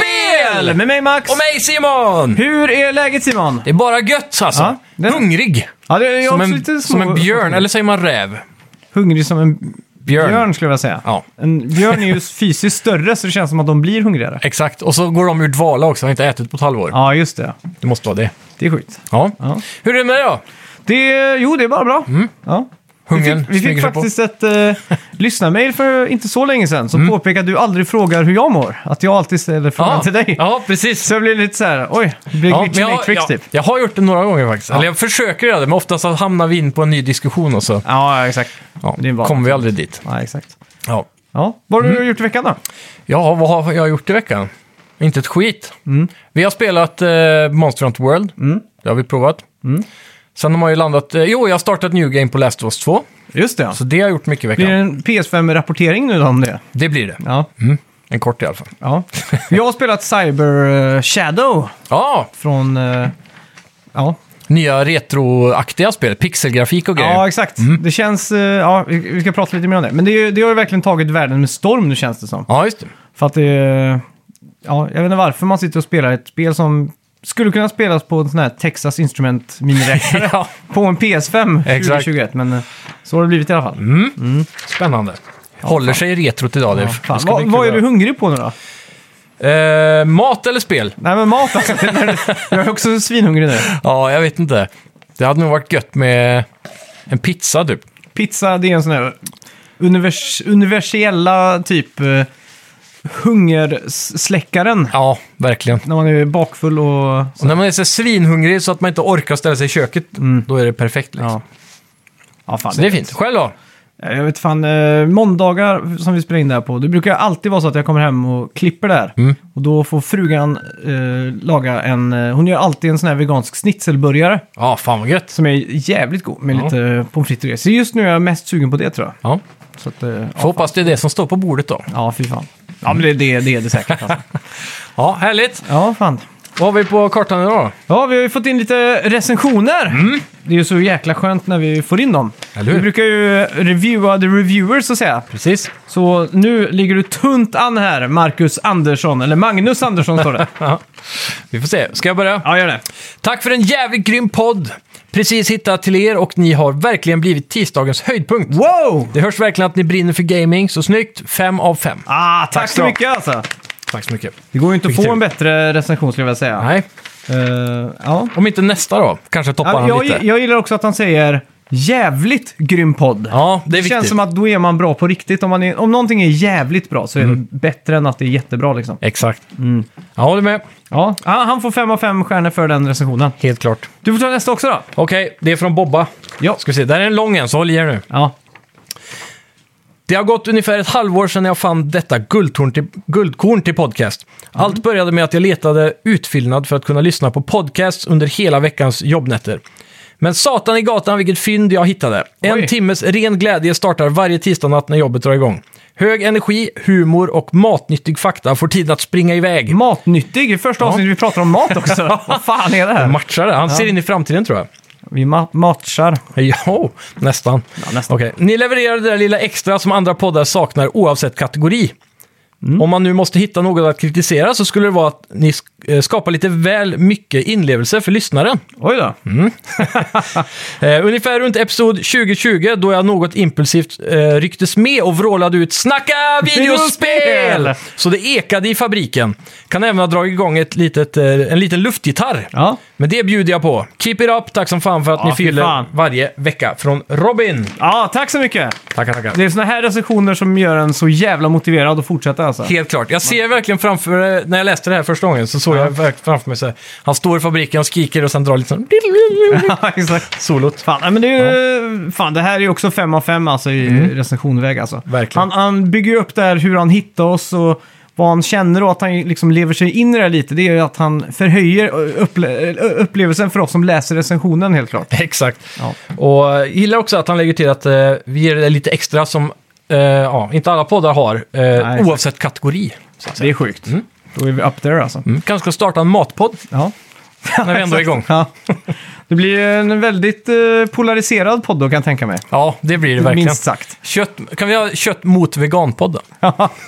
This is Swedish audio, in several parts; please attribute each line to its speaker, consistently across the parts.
Speaker 1: Mikael!
Speaker 2: Med mig Max!
Speaker 1: Och mig Simon!
Speaker 2: Hur är läget Simon?
Speaker 1: Det är bara gött alltså.
Speaker 2: Ja, det-
Speaker 1: Hungrig.
Speaker 2: Ja, det är jag
Speaker 1: Som
Speaker 2: också
Speaker 1: en,
Speaker 2: lite små-
Speaker 1: som en björn, eller säger man räv?
Speaker 2: Hungrig som en
Speaker 1: Björn.
Speaker 2: björn skulle jag vilja säga.
Speaker 1: Ja.
Speaker 2: En björn är ju fysiskt större så det känns som att de blir hungrigare.
Speaker 1: Exakt, och så går de ur dvala också, har inte ätit på ett halvår.
Speaker 2: Ja, just det.
Speaker 1: Det måste vara det.
Speaker 2: Det är sjukt.
Speaker 1: Ja.
Speaker 2: Ja.
Speaker 1: Hur är det med dig då?
Speaker 2: Det, jo, det är bara bra. Ja. Vi
Speaker 1: Mm. Hungern
Speaker 2: fick, vi
Speaker 1: smyger
Speaker 2: fick
Speaker 1: sig på.
Speaker 2: faktiskt ett eh, lyssnarmail för inte så länge sedan som påpekade att du aldrig frågar hur jag mår. Att jag alltid ställer frågan
Speaker 1: Mm.
Speaker 2: till
Speaker 1: Ja,
Speaker 2: dig.
Speaker 1: ja precis.
Speaker 2: Så jag blir lite så här, oj, det blir
Speaker 1: Ja,
Speaker 2: glitch
Speaker 1: men jag,
Speaker 2: matrix
Speaker 1: jag,
Speaker 2: typ.
Speaker 1: jag har gjort det några gånger faktiskt. Eller jag försöker göra det, men oftast så hamnar vi in på en ny diskussion och så
Speaker 2: Ja, exakt.
Speaker 1: ja,
Speaker 2: Det är en vana.
Speaker 1: kommer vi aldrig dit.
Speaker 2: Ja, exakt.
Speaker 1: Ja.
Speaker 2: Ja. Vad har
Speaker 1: Mm.
Speaker 2: du gjort i veckan då?
Speaker 1: ja, vad har jag gjort i veckan? Inte ett skit.
Speaker 2: Mm.
Speaker 1: Vi har spelat eh, Monster Hunter World. Det har vi provat.
Speaker 2: Mm.
Speaker 1: Sen har man ju landat... Eh, jo, jag har startat New Game på Last of Us 2.
Speaker 2: Just det, ja.
Speaker 1: Så det har jag gjort mycket i
Speaker 2: Blir
Speaker 1: veckan.
Speaker 2: det en PS5-rapportering nu då om det?
Speaker 1: Det blir det.
Speaker 2: Ja.
Speaker 1: En kort i alla fall.
Speaker 2: ja. Jag har spelat Cyber eh, Shadow
Speaker 1: Ja,
Speaker 2: från... eh, ja.
Speaker 1: nya retroaktiga spel. Pixelgrafik och grejer.
Speaker 2: ja, exakt.
Speaker 1: Mm.
Speaker 2: Det känns... eh, ja, vi- vi ska prata lite mer om det. Men det, är ju- det har ju verkligen tagit världen med storm nu känns det som.
Speaker 1: Ja, just det.
Speaker 2: För att det... Ja, jag vet inte varför man sitter och spelar ett spel som skulle kunna spelas på en sån här Texas Instrument miniräknare.
Speaker 1: Ja,
Speaker 2: på en PS5
Speaker 1: Exakt. Mm.
Speaker 2: 2021, men eh, så har det blivit i alla fall.
Speaker 1: spännande. Håller sig i retrot idag. Det,
Speaker 2: Ja,
Speaker 1: det
Speaker 2: fan.
Speaker 1: ska
Speaker 2: Vad,
Speaker 1: bli kul
Speaker 2: vad är
Speaker 1: att-
Speaker 2: du hungrig på nu då?
Speaker 1: Eh, mat eller spel?
Speaker 2: Nej men mat alltså. Det är- jag är också svinhungrig nu.
Speaker 1: Ja, jag vet inte. Det hade nog varit gött med en pizza typ.
Speaker 2: Pizza, det är en sån här univers, universella typ eh, hungersläckaren.
Speaker 1: Ja, verkligen.
Speaker 2: När man är bakfull och...
Speaker 1: Och när man är så svinhungrig så att man inte orkar ställa sig i köket, då är det perfekt. Liksom.
Speaker 2: Ja. Ja, fan.
Speaker 1: Så det är fint. Själv då?
Speaker 2: Jag vet fan, eh, måndagar som vi spelar in det här på, det brukar alltid vara så att jag kommer hem och klipper där.
Speaker 1: Mm.
Speaker 2: Och då får frugan eh, laga en, eh, hon gör alltid en sån här vegansk schnitzelburgare
Speaker 1: Ja, fan vad gött.
Speaker 2: som är jävligt god med
Speaker 1: Ja.
Speaker 2: lite pommes frites och grejer. Så just nu är jag mest sugen på det tror jag.
Speaker 1: Ja.
Speaker 2: Så att, eh,
Speaker 1: Får hoppas det är det som står på bordet då.
Speaker 2: ja fy fan. Ja men det, det, det är det säkert alltså.
Speaker 1: Ja, härligt.
Speaker 2: Ja fan.
Speaker 1: Vad har vi på kartan idag då?
Speaker 2: Ja, vi har ju fått in lite recensioner. Det är ju så jäkla skönt när vi får in dem.
Speaker 1: Eller hur?
Speaker 2: Vi brukar ju reviewa the reviewers så att säga.
Speaker 1: Precis.
Speaker 2: Så nu ligger du tunt an här, Marcus Andersson. Eller Magnus Andersson står det.
Speaker 1: Vi får se. Ska jag börja?
Speaker 2: Ja, gör det.
Speaker 1: Tack för en jävligt grym podd! Precis hittat till er och ni har verkligen blivit tisdagens höjdpunkt.
Speaker 2: Wow!
Speaker 1: Det hörs verkligen att ni brinner för gaming, så snyggt! Fem av fem.
Speaker 2: Ah, tack,
Speaker 1: ska
Speaker 2: så
Speaker 1: du ha.
Speaker 2: mycket alltså.
Speaker 1: Tack så mycket.
Speaker 2: Det går ju inte att
Speaker 1: Vilket
Speaker 2: få
Speaker 1: tur.
Speaker 2: en bättre recension skulle jag vilja säga.
Speaker 1: Nej,
Speaker 2: Eh, ja.
Speaker 1: om inte nästa då. Kanske toppar
Speaker 2: Ja,
Speaker 1: han
Speaker 2: jag,
Speaker 1: lite.
Speaker 2: jag gillar också att han säger jävligt grym podd.
Speaker 1: Ja, det är viktigt.
Speaker 2: känns som att då är man bra på riktigt. Om, man är, om någonting är jävligt bra så är
Speaker 1: Mm.
Speaker 2: det bättre än att det är jättebra liksom.
Speaker 1: Exakt. Jag håller med.
Speaker 2: Ja, ah, han får fem av fem stjärnor för den recensionen.
Speaker 1: Helt klart.
Speaker 2: Du får ta nästa också då.
Speaker 1: Okej, det är från Bobba.
Speaker 2: Ja.
Speaker 1: Ska vi se, det här är en lång en, så håll i er nu.
Speaker 2: Ja,
Speaker 1: Det har gått ungefär ett halvår sedan jag fann detta guldkorn till, guldkorn till podcast. Allt började med att jag letade utfyllnad för att kunna lyssna på podcasts under hela veckans jobbnätter. Men satan i gatan vilket fynd jag hittade. En
Speaker 2: Oj.
Speaker 1: timmes ren glädje startar varje tisdagnatt när jobbet drar igång. Hög energi, humor och matnyttig fakta får tiden att springa
Speaker 2: Mm.
Speaker 1: iväg.
Speaker 2: matnyttig. I första avsnittet vi pratar om mat också. Vad fan är det här?
Speaker 1: Matchar det? Han ser in i framtiden tror jag.
Speaker 2: Vi ma- matchar.
Speaker 1: Jo, nästan.
Speaker 2: nästan.
Speaker 1: Okej. Ni levererar det där lilla extra som andra poddar saknar oavsett kategori.
Speaker 2: Mm.
Speaker 1: Om man nu måste hitta något att kritisera så skulle det vara att ni sk- eh, skapar lite väl mycket inlevelse för lyssnaren.
Speaker 2: Oj då.
Speaker 1: Mm. Eh, ungefär runt episod 2020 då jag något impulsivt eh, rycktes med och vrålade ut “Snacka videospel!”
Speaker 2: Videospel!
Speaker 1: Så det ekade i fabriken. Kan även ha dragit igång ett litet, eh, en liten luftgitarr.
Speaker 2: Ja.
Speaker 1: Men det bjuder jag på. Keep it up, tack som fan för att
Speaker 2: Ja,
Speaker 1: ni
Speaker 2: fy
Speaker 1: fyller
Speaker 2: fan.
Speaker 1: varje vecka. Från Robin.
Speaker 2: ja, tack så mycket.
Speaker 1: Tackar, tackar.
Speaker 2: Det är såna här recensioner som gör en så jävla motiverad att fortsätta alltså.
Speaker 1: Helt klart. Jag ser verkligen framför, när jag läste det här första gången så såg jag verkligen framför mig så här, han står i fabriken och skriker och sen drar lite sån...
Speaker 2: Ja, exakt.
Speaker 1: Solot.
Speaker 2: Fan, nej, men det, är, ju- fan, det här är ju också fem av fem alltså, i recensionväg. Alltså.
Speaker 1: Verkligen.
Speaker 2: Han, han bygger ju upp där hur han hittar oss och vad han känner och att han liksom lever sig in i det här lite. Det är ju att han förhöjer ö, upple ö, upplevelsen för oss som läser recensionen helt klart.
Speaker 1: Exakt.
Speaker 2: Ja.
Speaker 1: Och jag gillar också att han lägger till att eh, vi ger det lite extra som eh, ja, inte alla poddar har, eh,
Speaker 2: exakt.
Speaker 1: oavsett kategori. Så att säga.
Speaker 2: Det är sjukt. Då är vi up there alltså.
Speaker 1: Mm. Kanske ska starta en matpodd
Speaker 2: Ja.
Speaker 1: när vi ändå är igång.
Speaker 2: Ja. Det blir en väldigt eh, polariserad podd då kan jag tänka mig.
Speaker 1: Ja, det blir det verkligen.
Speaker 2: Minst sagt.
Speaker 1: Kött, kan vi ha kött mot veganpodden?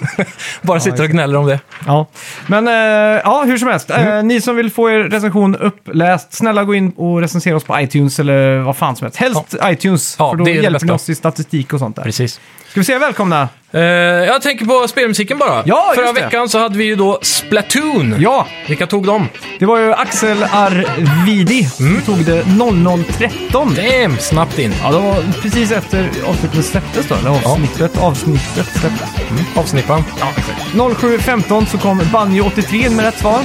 Speaker 1: Bara sitter och gnäller om det.
Speaker 2: Ja, men eh, ja, hur som helst.
Speaker 1: Mm.
Speaker 2: Eh, ni som vill få er recension uppläst, snälla gå in och recensera oss på iTunes eller vad fan som helst. Helst iTunes,
Speaker 1: Ja,
Speaker 2: för då
Speaker 1: det är det
Speaker 2: hjälper
Speaker 1: bästa.
Speaker 2: ni oss i statistik och sånt där.
Speaker 1: Precis.
Speaker 2: Ska vi säga välkomna?
Speaker 1: Eh, jag tänker på spelmusiken bara.
Speaker 2: Ja,
Speaker 1: Förra
Speaker 2: just det.
Speaker 1: veckan så hade vi ju då Splatoon.
Speaker 2: Ja,
Speaker 1: Vilka tog dem?
Speaker 2: det var ju Axel Arvidi
Speaker 1: Mm.
Speaker 2: som tog det 0013.
Speaker 1: Damn, snabbt in.
Speaker 2: Ja, det var precis efter avsnittet släpptes då, eller avsnittet, avsnittet släpptes.
Speaker 1: Avsnippan.
Speaker 2: 07.15 så kom Banjo 83 med rätt svar.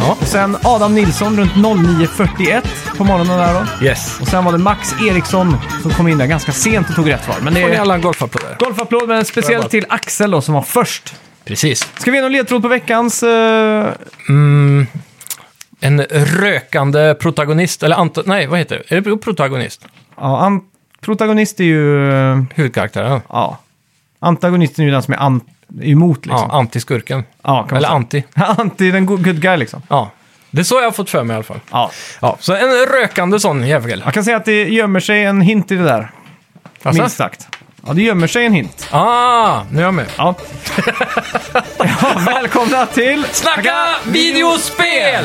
Speaker 1: Ja.
Speaker 2: Och sen Adam Nilsson runt 09.41 på morgonen där då.
Speaker 1: Yes.
Speaker 2: Och sen var det Max Eriksson som kom in där ganska sent och tog rätt svar. Men det
Speaker 1: Får ni
Speaker 2: är
Speaker 1: alla en golfapplåder?
Speaker 2: golfapplåd, men speciellt till Axel då som var först.
Speaker 1: Precis.
Speaker 2: Ska vi ge någon ledtråd på veckans... eh,
Speaker 1: En rökande protagonist, eller anta... Nej, vad heter det? Är det protagonist?
Speaker 2: ja, an- protagonist är ju... eh,
Speaker 1: Huvudkaraktären? Liksom
Speaker 2: ja. Antagonisten är ju den som är an- emot liksom.
Speaker 1: Ja, antiskurken.
Speaker 2: Ja, kan man
Speaker 1: Eller
Speaker 2: säga.
Speaker 1: anti.
Speaker 2: Anti, den good good guy liksom.
Speaker 1: Ja. Det är så jag har fått för mig i alla fall.
Speaker 2: Ja.
Speaker 1: Ja, så en rökande sån jävel.
Speaker 2: Jag kan säga att det gömmer sig en hint i det där.
Speaker 1: Alltså?
Speaker 2: Minst sagt. Ja, det gömmer sig en hint.
Speaker 1: Ah, nu är jag med.
Speaker 2: Ja. ja välkomna till...
Speaker 1: Snacka videospel!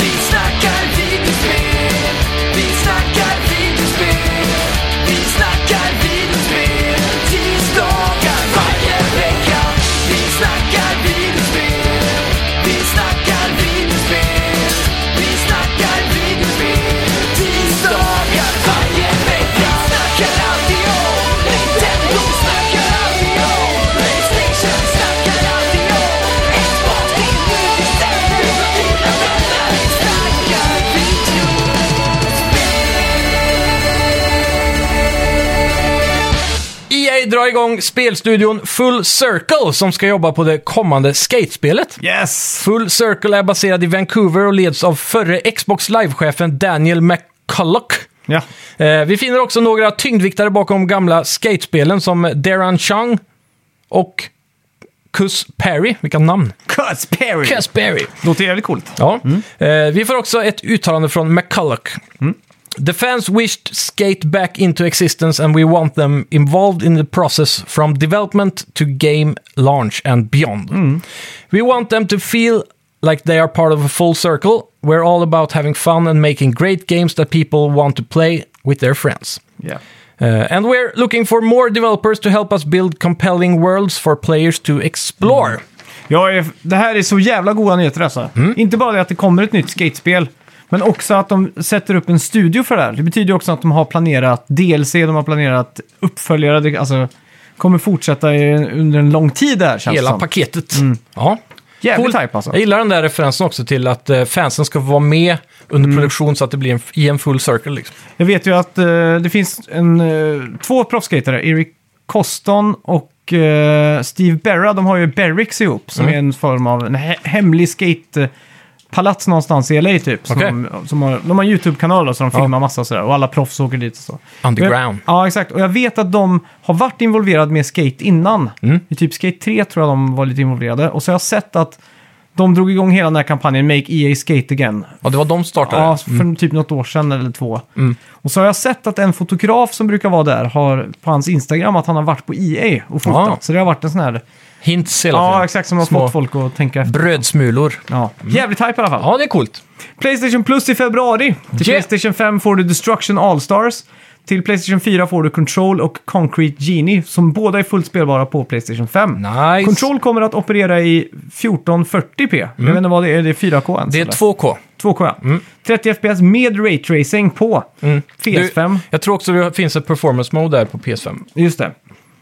Speaker 3: Vi snackar videospel, vi snackar videospel, vi snackar videospel tisdagar varje vecka. er Vi snackar videospel, vi snackar videospel, vi snackar videospel tisdagar varje vecka. Snackar alltid om Nintendo, snackar alltid om Playstation, snackar alltid om Xbox, Nintendo, Nintendo, Nintendo. Snackar video.
Speaker 1: EA E drar igång spelstudion Full Circle som ska jobba på det kommande skatespelet.
Speaker 2: Yes!
Speaker 1: Full Circle är baserad i Vancouver och leds av förre Xbox Live-chefen Daniel McCulloch.
Speaker 2: Ja.
Speaker 1: Eh, vi finner också några tyngdviktare bakom gamla skatespelen som Darren Chung och Cus Perry. Vilka namn!
Speaker 2: Cuz Perry!
Speaker 1: Cus Perry!
Speaker 2: Låter jävligt coolt.
Speaker 1: Ja. Eh, vi får också ett uttalande från McCulloch. The fans wished skate back into existence and we want them involved in the process from development to game launch and beyond. We want them to feel like they are part of a full circle. We're all about having fun and making great games that people want to play with their friends.
Speaker 2: Yeah.
Speaker 1: Uh, and we're looking for more developers to help us build compelling worlds for players to explore.
Speaker 2: Jag är, det här är så jävla goda nyheter alltså.
Speaker 1: Mm.
Speaker 2: Inte bara det att det kommer ett nytt skatespel, men också att de sätter upp en studio för det här. Det betyder ju också att de har planerat DLC, de har planerat uppföljare. Det, alltså, kommer fortsätta i, under en lång tid där känns
Speaker 1: Hela
Speaker 2: det som.
Speaker 1: paketet. Ja.
Speaker 2: Jävligt
Speaker 1: Cool.
Speaker 2: hype alltså.
Speaker 1: Jag gillar den där referensen också till att eh, fansen ska få vara med under
Speaker 2: Mm.
Speaker 1: produktion så att det blir en, i en full circle. Liksom.
Speaker 2: Jag vet ju att eh, det finns en, eh, två proffsskejtare, Eric Coston och eh, Steve Berra. De har ju Berricks ihop, som
Speaker 1: Mm.
Speaker 2: är en form av en he- hemlig skatepalats någonstans i LA typ. Som
Speaker 1: Okej.
Speaker 2: de, som har, de har en YouTube-kanal då, så de
Speaker 1: Ja.
Speaker 2: filmar massa sådär. Och alla proffs åker dit och så.
Speaker 1: Underground.
Speaker 2: Jag, ja, exakt. Och jag vet att de har varit involverade med skate innan.
Speaker 1: Mm.
Speaker 2: I typ skate 3 tror jag de var lite involverade. Och så har jag sett att de drog igång hela den här kampanjen Make EA Skate Again.
Speaker 1: Ja, det var de startade.
Speaker 2: Ja, för typ något år sedan eller två.
Speaker 1: Mm.
Speaker 2: Och så har jag sett att en fotograf som brukar vara där har på hans Instagram att han har varit på EA och fotat.
Speaker 1: Ja.
Speaker 2: Så det har varit en sån här...
Speaker 1: Hints hela
Speaker 2: Ja,
Speaker 1: tiden.
Speaker 2: exakt, som har
Speaker 1: Små
Speaker 2: fått folk att tänka efter.
Speaker 1: Brödsmulor.
Speaker 2: Ja. Jävligt hype i alla fall.
Speaker 1: Ja, det är coolt.
Speaker 2: Playstation Plus i februari. Till
Speaker 1: Yeah.
Speaker 2: Playstation 5 får du Destruction All-Stars. Till Playstation 4 får du Control och Concrete Genie, som båda är fullt spelbara på Playstation 5.
Speaker 1: Nice.
Speaker 2: Control kommer att operera i 1440p. Jag vet inte vad det är, det är 4K ens?
Speaker 1: Mm. Det är
Speaker 2: eller?
Speaker 1: 2K.
Speaker 2: 2K, ja.
Speaker 1: Mm.
Speaker 2: 30 FPS med raytracing på PS5.
Speaker 1: Du, jag tror också det finns ett performance mode där på PS5.
Speaker 2: Just det.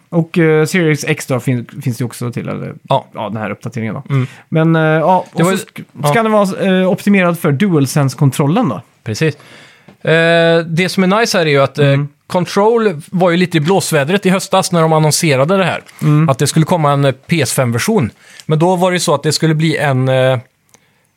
Speaker 2: Och eh, Series X då fin finns det ju också till, eller
Speaker 1: Ja. Mm.
Speaker 2: ja, den här uppdateringen då. Men eh, ja, och
Speaker 1: Det var
Speaker 2: så
Speaker 1: ju-
Speaker 2: sk
Speaker 1: ja.
Speaker 2: ska den vara eh, optimerad för DualSense-kontrollen då.
Speaker 1: Precis. Eh, det som är nice här är ju att eh,
Speaker 2: Mm.
Speaker 1: Control var ju lite i blåsvädret i höstas när de annonserade det här.
Speaker 2: Mm.
Speaker 1: Att det skulle komma en eh, PS5-version. Men då var det ju så att det skulle bli en... Eh,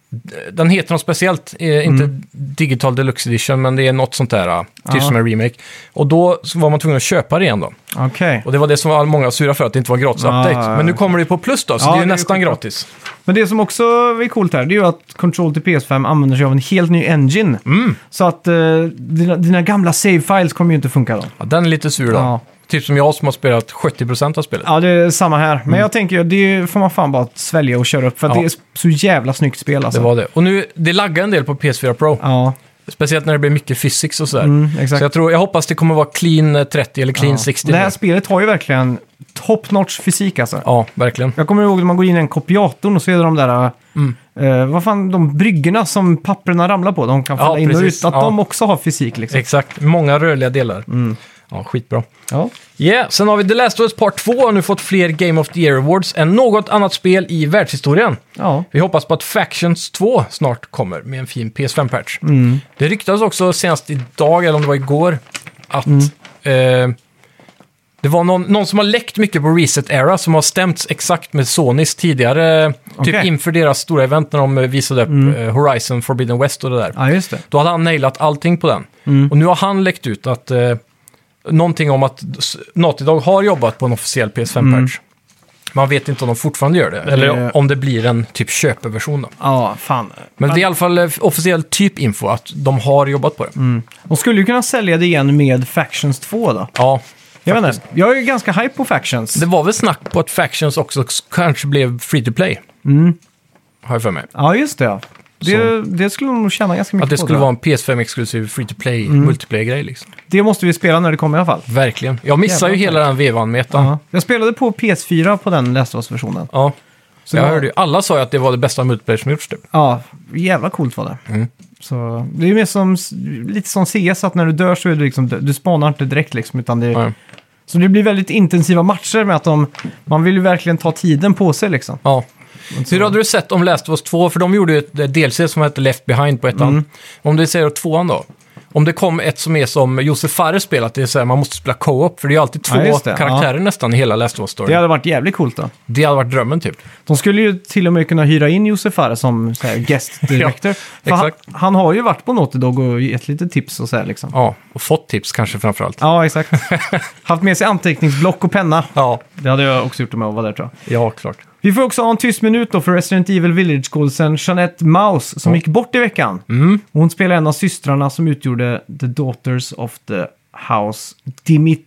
Speaker 1: d- den heter något speciellt, eh,
Speaker 2: Mm.
Speaker 1: inte Digital Deluxe Edition, men det är något sånt där, eh, typ
Speaker 2: Ja.
Speaker 1: som en remake. Och då så var man tvungen att köpa det igen då.
Speaker 2: Okej.
Speaker 1: Och det var det som var många sura för, att det inte var en gratis
Speaker 2: Ah,
Speaker 1: update.
Speaker 2: ja,
Speaker 1: Men nu
Speaker 2: okej.
Speaker 1: kommer det på plus då, så
Speaker 2: Ja,
Speaker 1: det är ju
Speaker 2: det är ju
Speaker 1: nästan
Speaker 2: skitbra.
Speaker 1: gratis.
Speaker 2: Men det som också är coolt här, det är ju att Control till PS5 använder sig av en helt ny engine.
Speaker 1: Mm.
Speaker 2: Så att eh, dina, dina gamla save files kommer ju inte funka då.
Speaker 1: Ja, den är lite sur då.
Speaker 2: Ja.
Speaker 1: Typ som jag som har spelat 70% av spelet.
Speaker 2: Ja, det är samma här. Men jag tänker ju, det får man fan bara svälja och köra upp. För att
Speaker 1: Mm. Ja.
Speaker 2: det är så jävla snyggt spel alltså.
Speaker 1: Det var det. Och nu, det laggar en del på PS4 Pro.
Speaker 2: Ja,
Speaker 1: Speciellt när det blir mycket physics och sådär.
Speaker 2: mm, exakt.
Speaker 1: Så jag, tror, jag hoppas det kommer vara clean eh, 30 eller clean
Speaker 2: ja.
Speaker 1: 60.
Speaker 2: Det här
Speaker 1: nu.
Speaker 2: spelet har ju verkligen top notch fysik alltså.
Speaker 1: Ja, verkligen.
Speaker 2: Jag kommer ihåg när man går in i en kopiatorn och så är det de där,
Speaker 1: Mm.
Speaker 2: eh, vad fan, de bryggorna som papperna ramlar på, de kan
Speaker 1: Ja,
Speaker 2: falla in och
Speaker 1: precis.
Speaker 2: ut. Att
Speaker 1: Ja.
Speaker 2: de också har fysik liksom.
Speaker 1: Exakt, många rörliga delar.
Speaker 2: Mm.
Speaker 1: Ja, skitbra.
Speaker 2: Ja.
Speaker 1: Yeah. Sen har vi The Last of Us Part 2 och nu fått fler Game of the Year Awards än något annat spel i världshistorien.
Speaker 2: ja.
Speaker 1: Vi hoppas på att Factions 2 snart kommer med en fin PS5-patch.
Speaker 2: Mm.
Speaker 1: Det ryktas också senast idag, eller om det var igår, att
Speaker 2: Mm.
Speaker 1: eh, det var någon, någon som har läckt mycket på Reset Era som har stämts exakt med Sonys tidigare, eh, typ
Speaker 2: Okej. Mm.
Speaker 1: inför deras stora event när de eh, visade upp eh, Horizon Forbidden West och det där.
Speaker 2: Ja, just det.
Speaker 1: Då hade han nailat allting på den.
Speaker 2: Mm.
Speaker 1: Och nu har han läckt ut att eh, någonting om att s- Naughty Dog har jobbat på en officiell PS5-patch.
Speaker 2: Mm.
Speaker 1: Man vet inte om de fortfarande gör det, eller
Speaker 2: Det-
Speaker 1: om det blir en typ köpeversion. Då.
Speaker 2: Ja, fan.
Speaker 1: Men det är i alla fall eh, officiell typ info att de har jobbat på det.
Speaker 2: De skulle ju kunna sälja det igen med Factions 2 då.
Speaker 1: Ja,
Speaker 2: Jag vet inte. Jag är ju ganska hype på Factions.
Speaker 1: det var väl snack på att Factions också s- kanske blev free to play.
Speaker 2: Mm.
Speaker 1: Har jag för mig.
Speaker 2: Ja, just det. ja. Det, det skulle de nog tjäna ganska mycket
Speaker 1: Att det
Speaker 2: på.
Speaker 1: skulle
Speaker 2: tror Mm. jag.
Speaker 1: vara en PS5-exklusiv free to play, multiplayer-grej liksom.
Speaker 2: Det måste vi spela när det kommer i alla fall.
Speaker 1: Verkligen. Jag missar ju
Speaker 2: Jävlar,
Speaker 1: hela den vevan med ettan.
Speaker 2: Ja. Jag spelade på PS4 på den Last of Us-versionen.
Speaker 1: Ja.
Speaker 2: Så
Speaker 1: jag
Speaker 2: det var-
Speaker 1: hörde ju, alla sa ju att det var det bästa multiplayer som gjorts typ.
Speaker 2: Ja, jävla coolt var det.
Speaker 1: Mm.
Speaker 2: Så, det är ju mer som, lite som CS, att när du dör så är du liksom, dö- du spanar inte direkt liksom, utan det,
Speaker 1: Ja.
Speaker 2: Så det blir väldigt intensiva matcher med att de, man vill ju verkligen ta tiden på sig liksom.
Speaker 1: Ja. Hur hade du sett om Last of Us 2? För de gjorde ju ett DLC som hette Left Behind på ettan.
Speaker 2: Mm.
Speaker 1: Om det säger tvåan då? Om det kom ett som är som Josef Fares spel, att det är så här, man måste spela co-op, för det är ju alltid två
Speaker 2: Ja, just det.
Speaker 1: karaktärer nästan i hela Last of Us Story.
Speaker 2: Det hade varit jävligt coolt då.
Speaker 1: Det hade varit drömmen typ.
Speaker 2: De skulle ju till och med kunna hyra in Josef Farre som så här, guest director. För han,
Speaker 1: exakt.
Speaker 2: han har ju varit på Naughty Dog och gett lite tips och så här liksom.
Speaker 1: Ja, och fått tips kanske framförallt.
Speaker 2: Ja, exakt. Haft med sig anteckningsblock och penna.
Speaker 1: Ja,
Speaker 2: Det hade jag också gjort om jag var där tror jag.
Speaker 1: ja klart.
Speaker 2: Vi får också ha en tyst minut då för Resident Evil Village-skådisen Jeanette Mouse som gick bort i veckan.
Speaker 1: Mm.
Speaker 2: Och Hon spelar en av systrarna som utgjorde The Daughters of the House Dimit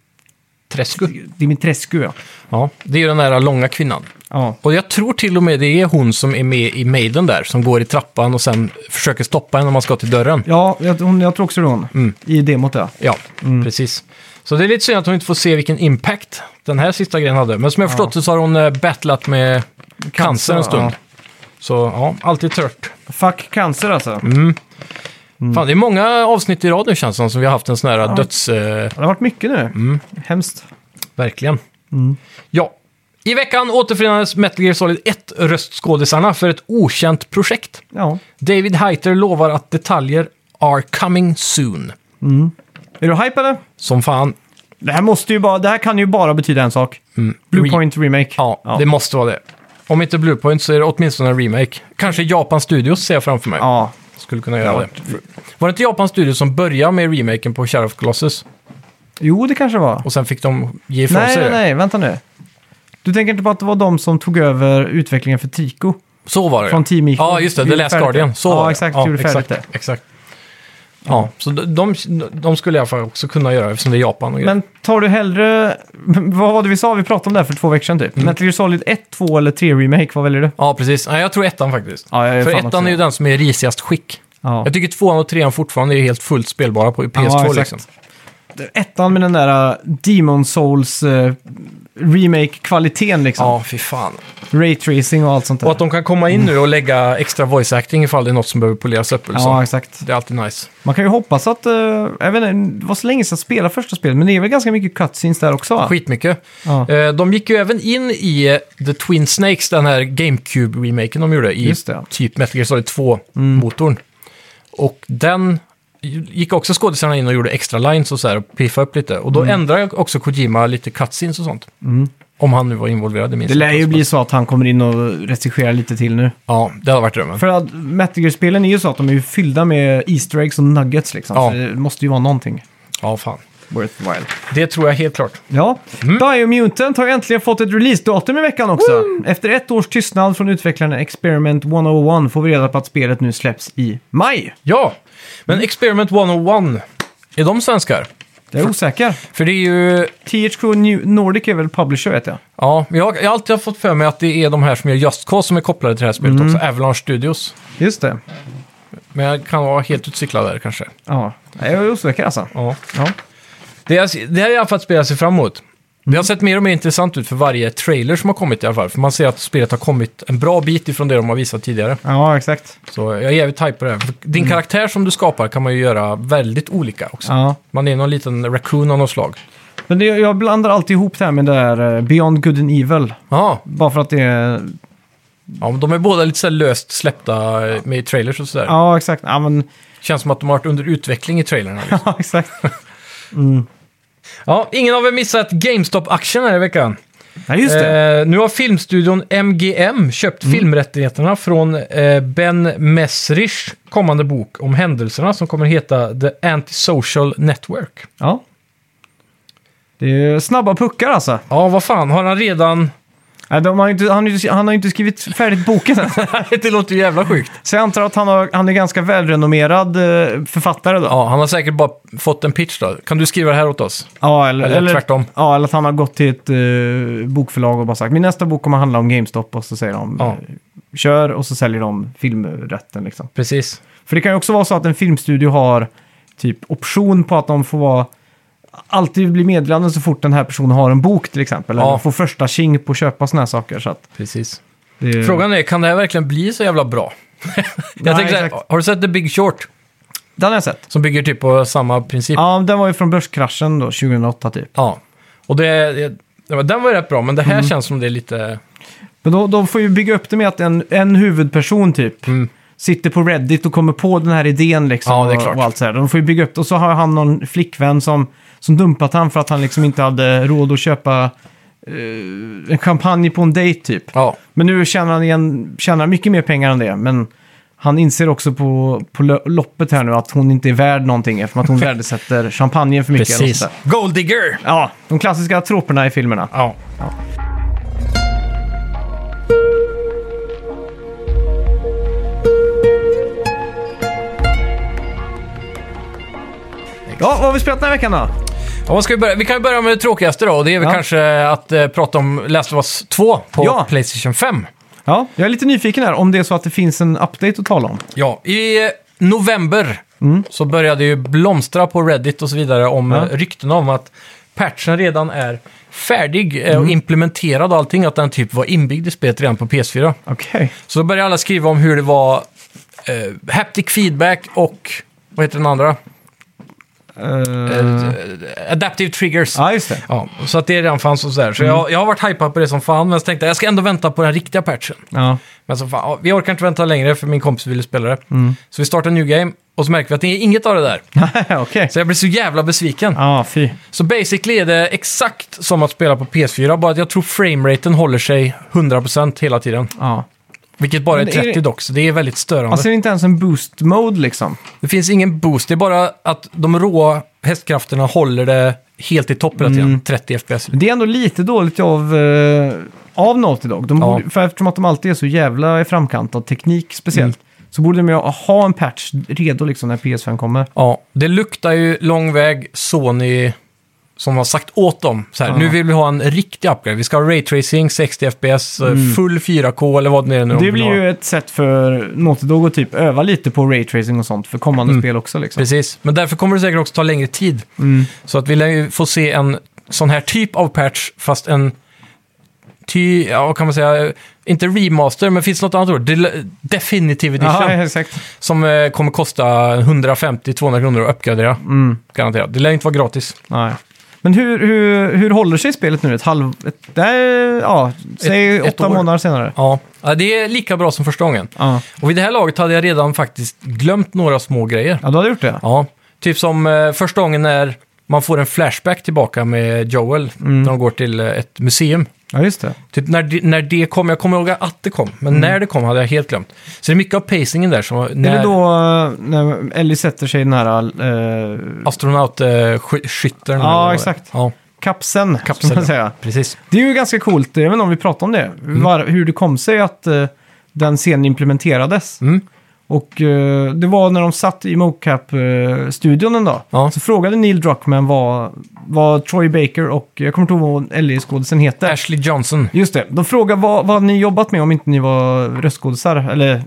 Speaker 1: Träsku.
Speaker 2: Dimitrescu. Ja.
Speaker 1: Ja, det är ju den där långa kvinnan.
Speaker 2: Ja.
Speaker 1: Och jag tror till och med det är hon som är med i Maiden där, som går i trappan och sen försöker stoppa henne när man ska till dörren.
Speaker 2: Ja, jag, hon, jag tror också det är hon.
Speaker 1: Mm.
Speaker 2: I demot, ja.
Speaker 1: Ja, precis. Så det är lite synd att hon inte får se vilken impact den här sista grejen hade. Men som jag förstått så har hon eh, battlat med cancer, en stund. Så ja, alltid trött.
Speaker 2: ja. Fuck cancer alltså.
Speaker 1: Mm. Fan, det är många avsnitt i rad nu känns det som, som vi har haft en sån här döds... Eh,
Speaker 2: Det har varit mycket nu.
Speaker 1: Mm.
Speaker 2: Hemskt.
Speaker 1: verkligen. Ja. I veckan återförenades Metal Gear Solid 1-röstskådisarna för ett okänt projekt.
Speaker 2: Ja.
Speaker 1: David Heiter lovar att detaljer are coming soon.
Speaker 2: Är du hype eller?
Speaker 1: Som fan,
Speaker 2: Det här, måste ju bara, det här kan ju bara betyda en sak.
Speaker 1: Mm. Re-
Speaker 2: Blue Point Remake.
Speaker 1: Ja, det måste vara det. Om inte Bluepoint så är det åtminstone en remake. Kanske Japan Studios ser jag framför mig.
Speaker 2: ja.
Speaker 1: Skulle kunna göra det. Var det inte Japan Studios som började med remaken på Shadow of Colossus?
Speaker 2: Jo, det kanske det var.
Speaker 1: Och sen fick de ge ifrån
Speaker 2: Nej,
Speaker 1: sig
Speaker 2: nej,
Speaker 1: det?
Speaker 2: nej, vänta nu. Du tänker inte på att det var de som tog över utvecklingen för Trico?
Speaker 1: Så var det
Speaker 2: Från Team Ico.
Speaker 1: Ja, just det. The
Speaker 2: Gjorde
Speaker 1: Last
Speaker 2: färdigt det.
Speaker 1: Guardian. Så
Speaker 2: Ja,
Speaker 1: var det.
Speaker 2: exakt,
Speaker 1: Ja,
Speaker 2: gjorde färdigt
Speaker 1: exakt, exakt. Ja, så de, de skulle i alla fall också kunna göra eftersom det är Japan och grejer.
Speaker 2: Men tar du hellre... Vad var det vi sa? Vi pratade om det här för två veckor sedan typ.
Speaker 1: Mm.
Speaker 2: Metal Gear Solid 1, 2 eller 3 Remake, vad väljer du?
Speaker 1: Ja, precis. Nej, jag tror ettan faktiskt.
Speaker 2: Ja, jag är
Speaker 1: För
Speaker 2: fan också
Speaker 1: ettan är ju
Speaker 2: det.
Speaker 1: den som är i risigast skick.
Speaker 2: Ja.
Speaker 1: Jag tycker tvåan och trean fortfarande är helt fullt spelbara på PS2
Speaker 2: Ja, exakt.
Speaker 1: liksom.
Speaker 2: Ettan med den där äh, Demon Souls eh, remake-kvaliteten liksom.
Speaker 1: Ja, fy fan.
Speaker 2: Ray tracing och allt sånt där.
Speaker 1: Och att de kan komma in nu och lägga extra voice acting ifall det är något som behöver poleras upp eller
Speaker 2: ja,
Speaker 1: så.
Speaker 2: exakt.
Speaker 1: Det är alltid nice.
Speaker 2: Man kan ju hoppas att... eh, jag vet inte, det var så länge sedan jag spelade första spelet, men det är väl ganska mycket cutscenes där också va?
Speaker 1: Skitmycket.
Speaker 2: Ja.
Speaker 1: Eh, De gick ju även in i eh, The Twin Snakes, den här GameCube-remaken de gjorde i
Speaker 2: Just det. Mm.
Speaker 1: typ Metal Gear Solid 2-motorn. Och den gick också skådisarna in och gjorde extra lines och så här och piffade upp lite. Och då
Speaker 2: Mm.
Speaker 1: ändrade också Kojima lite cutscenes och sånt. Om han nu var involverad i minst.
Speaker 2: Det lär ju bli så att han kommer in och recenserar lite till nu.
Speaker 1: Ja, det hade varit drömmen.
Speaker 2: För att Metal Gear-spelen är ju så att de är ju fyllda med Easter eggs och nuggets liksom.
Speaker 1: Ja.
Speaker 2: Så det måste ju vara någonting.
Speaker 1: Ja, fan.
Speaker 2: worthwhile.
Speaker 1: Det tror jag helt klart.
Speaker 2: Ja, Biomutant har äntligen fått ett releasedatum i veckan också. Efter ett års tystnad från utvecklaren Experiment 101 får vi reda på att spelet nu släpps i maj.
Speaker 1: Ja, men Experiment 101, är de svenskar?
Speaker 2: Jag är osäker.
Speaker 1: För det är ju...
Speaker 2: THQ New Nordic är väl publisher vet jag.
Speaker 1: Ja, jag, har- jag har alltid fått för mig att det är de här som gör Just Cause som är kopplade till det här spelet
Speaker 2: Mm.
Speaker 1: också. Avalanche Studios.
Speaker 2: Just det.
Speaker 1: Men jag kan vara helt utcyklad där kanske.
Speaker 2: Ja, Nej, jag är osäker alltså.
Speaker 1: Ja.
Speaker 2: Ja.
Speaker 1: Det, är, det här är i alla fall ett spel jag ser fram emot. Det
Speaker 2: Mm.
Speaker 1: har sett mer och mer intressant ut för varje trailer som har kommit i alla fall. För man ser att spelet har kommit en bra bit ifrån det de har visat tidigare.
Speaker 2: ja, exakt.
Speaker 1: Så jag är jävligt hype på det här. För Din karaktär som du skapar kan man ju göra väldigt olika också.
Speaker 2: Mm. Ja.
Speaker 1: Man är någon liten raccoon av något slag.
Speaker 2: Men det, jag blandar alltid ihop det här med det här eh, Beyond Good and Evil.
Speaker 1: Ja,
Speaker 2: Bara för att det är...
Speaker 1: ja men de är båda lite så här löst släppta eh, med i trailers och sådär.
Speaker 2: Ja, exakt. Ja, men...
Speaker 1: Känns som att de har varit under utveckling i trailerna. Liksom.
Speaker 2: ja exakt. Mm.
Speaker 1: Ja, ingen har väl missat GameStop-aktien här i veckan.
Speaker 2: Ja, just det.
Speaker 1: Eh, nu har filmstudion MGM köpt filmrättigheterna från eh, Ben Messrich kommande bok om händelserna som kommer heta The Antisocial Network.
Speaker 2: Ja. Det är ju snabba puckar alltså.
Speaker 1: Ja, vad fan, har han redan...
Speaker 2: Nej, de har ju inte, han, har ju inte- han har ju inte skrivit färdigt boken än.
Speaker 1: det låter ju jävla sjukt.
Speaker 2: Så jag antar att han, har, han är ganska välrenommerad eh, författare då.
Speaker 1: Ja, han har säkert bara fått en pitch då. Kan du skriva det här åt oss?
Speaker 2: Ja, eller,
Speaker 1: Eller tvärtom.
Speaker 2: Ja, eller att han har gått till ett eh, bokförlag och bara sagt min nästa bok kommer handla om GameStop och så säger de
Speaker 1: Ja.
Speaker 2: eh, kör och så säljer de filmrätten liksom.
Speaker 1: Precis.
Speaker 2: För det kan ju också vara så att en filmstudio har typ option på att de får vara alltid bli meddelanden så fort den här personen har en bok till exempel.
Speaker 1: Ja.
Speaker 2: Eller får första tjing på att köpa sådana här saker. Så att
Speaker 1: Precis.
Speaker 2: det,
Speaker 1: Frågan är, kan det här verkligen bli så jävla bra? Jag tänker så här,
Speaker 2: exakt.
Speaker 1: har du sett The Big Short?
Speaker 2: Den har jag sett.
Speaker 1: Som bygger typ på samma princip.
Speaker 2: Ja, den var ju från börskraschen då, 2008 typ.
Speaker 1: Ja. Och det, det, den var ju rätt bra, men det här känns som det är lite...
Speaker 2: Men då, då får vi bygga upp det med att en, en huvudperson typ
Speaker 1: Mm.
Speaker 2: sitter på Reddit och kommer på den här idén liksom.
Speaker 1: Ja, det är
Speaker 2: och-
Speaker 1: klart.
Speaker 2: Och allt så här. De får ju bygga upp det. Och så har han någon flickvän som, som dumpat han för att han liksom inte hade råd att köpa eh, en champagne på en dejt typ.
Speaker 1: Ja.
Speaker 2: Men nu tjänar han igen, tjänar mycket mer pengar än det. Men han inser också på, på lo- loppet här nu att hon inte är värd någonting eftersom att hon värdesätter champagnen för mycket. eller något
Speaker 1: Precis.
Speaker 2: sånt där.
Speaker 1: Gold digger!
Speaker 2: Ja, de klassiska troperna i filmerna.
Speaker 1: Ja.
Speaker 2: Ja, vad har vi spelat den här veckan då?
Speaker 1: ja vad ska vi, börja? vi kan ju börja med det tråkigaste då, och det är väl
Speaker 2: Ja.
Speaker 1: kanske att eh, prata om Last of Us 2 på
Speaker 2: Ja.
Speaker 1: Playstation 5.
Speaker 2: Ja, jag är lite nyfiken här om det är så att det finns en update att tala om.
Speaker 1: Ja, i eh, november så började ju blomstra på Reddit och så vidare om
Speaker 2: Ja.
Speaker 1: Mm. ja. ryktena om att patchen redan är färdig eh, och implementerad och allting, att den typ var inbyggd i spelet redan på PS4.
Speaker 2: Okej.
Speaker 1: Så då började alla skriva om hur det var eh, haptic feedback och, vad heter den andra? Eh, adaptive triggers.
Speaker 2: Mm. Ja, Mm. just det.
Speaker 1: Ja, så att det redan fanns och sådär. Så jag, jag har varit hypad på det som fan, men så tänkte jag jag ska ändå vänta på den riktiga patchen.
Speaker 2: Ja.
Speaker 1: Men så fan, ja, vi orkar inte vänta längre för min kompis ville spela det.
Speaker 2: Mm.
Speaker 1: Så vi startar New Game och så märker vi att det är inget av det där.
Speaker 2: Okej.
Speaker 1: Så jag blir så jävla besviken.
Speaker 2: Ja, fy.
Speaker 1: Så basically är det exakt som att spela på PS4, bara att jag tror frameraten håller sig 100% hela tiden.
Speaker 2: Ja.
Speaker 1: Vilket bara är
Speaker 2: Men är det-
Speaker 1: 30 dock, så det är väldigt störande.
Speaker 2: Alltså är det inte ens en boost mode liksom?
Speaker 1: Det finns ingen boost, det är bara att de råa hästkrafterna håller det helt i topp hela tiden,
Speaker 2: Mm.
Speaker 1: 30 FPS.
Speaker 2: Det är ändå lite dåligt av, eh, av Naughty Dog. De
Speaker 1: Ja.
Speaker 2: borde, för eftersom att de alltid är så jävla i framkant av teknik speciellt.
Speaker 1: Mm.
Speaker 2: Så borde de ju ha en patch redo liksom när PS5 kommer.
Speaker 1: Ja, det luktar ju lång väg Sony som har sagt åt dem. Så här, Nu vill vi ha en riktig upgrade. Vi ska ha raytracing, 60 FPS, eh, full 4K eller vad det är nu de
Speaker 2: Mm. Det
Speaker 1: vill
Speaker 2: blir
Speaker 1: ha.
Speaker 2: ju ett sätt för Naughty Dog att typ öva lite på raytracing och sånt för kommande spel också liksom.
Speaker 1: Mm.
Speaker 2: Mm.
Speaker 1: Precis, men därför kommer det säkert också ta längre tid. Så att vi lär ju få se en sån här typ av patch, fast en ty, ja vad kan man säga, Eh, inte remaster, men finns det något annat ord? Del- Definitive
Speaker 2: Ja,
Speaker 1: edition.
Speaker 2: exakt.
Speaker 1: Som eh, kommer kosta 150-200 kronor att uppgradera. Garanterat. Det lär inte vara gratis.
Speaker 2: Mm. Nej. Men hur, hur, hur håller sig spelet nu? Ett halv... Ett, nej, ja, säg
Speaker 1: Ett- ett
Speaker 2: åtta
Speaker 1: år.
Speaker 2: månader senare.
Speaker 1: Ja. ja, det är lika bra som första gången.
Speaker 2: Ja.
Speaker 1: Och vid det här laget hade jag redan faktiskt glömt några små grejer.
Speaker 2: ja, du hade gjort det?
Speaker 1: Ja, typ som eh, första gången när man får en flashback tillbaka med Joel
Speaker 2: Mm.
Speaker 1: när de går till eh, ett museum.
Speaker 2: Ja, just det.
Speaker 1: Typ när, det- när det kom, jag kommer ihåg att det kom, men
Speaker 2: Mm.
Speaker 1: när det kom hade jag helt glömt. Så det är mycket av pacingen där som var-
Speaker 2: Eller
Speaker 1: när
Speaker 2: då eh, när Ellie sätter sig i den här eh,
Speaker 1: eh, astronautskyttern...
Speaker 2: Ja, exakt.
Speaker 1: Ja,
Speaker 2: kapseln, kapseln,
Speaker 1: Kapseln,
Speaker 2: ska man
Speaker 1: ja. Mm.
Speaker 2: säga.
Speaker 1: precis.
Speaker 2: Det är ju ganska coolt, jag vet inte om vi pratade om det, var, hur det kom sig att eh, den scenen implementerades.
Speaker 1: Mm.
Speaker 2: Och eh, det var när de satt i mocap-studion en dag.
Speaker 1: Ja.
Speaker 2: Så frågade Neil Druckmann vad, vad Troy Baker och, jag kommer inte ihåg vad LE-skådisen heter.
Speaker 1: Ashley Johnson.
Speaker 2: Just det, de frågade vad, vad ni jobbat med om inte ni var röstskådisar, eller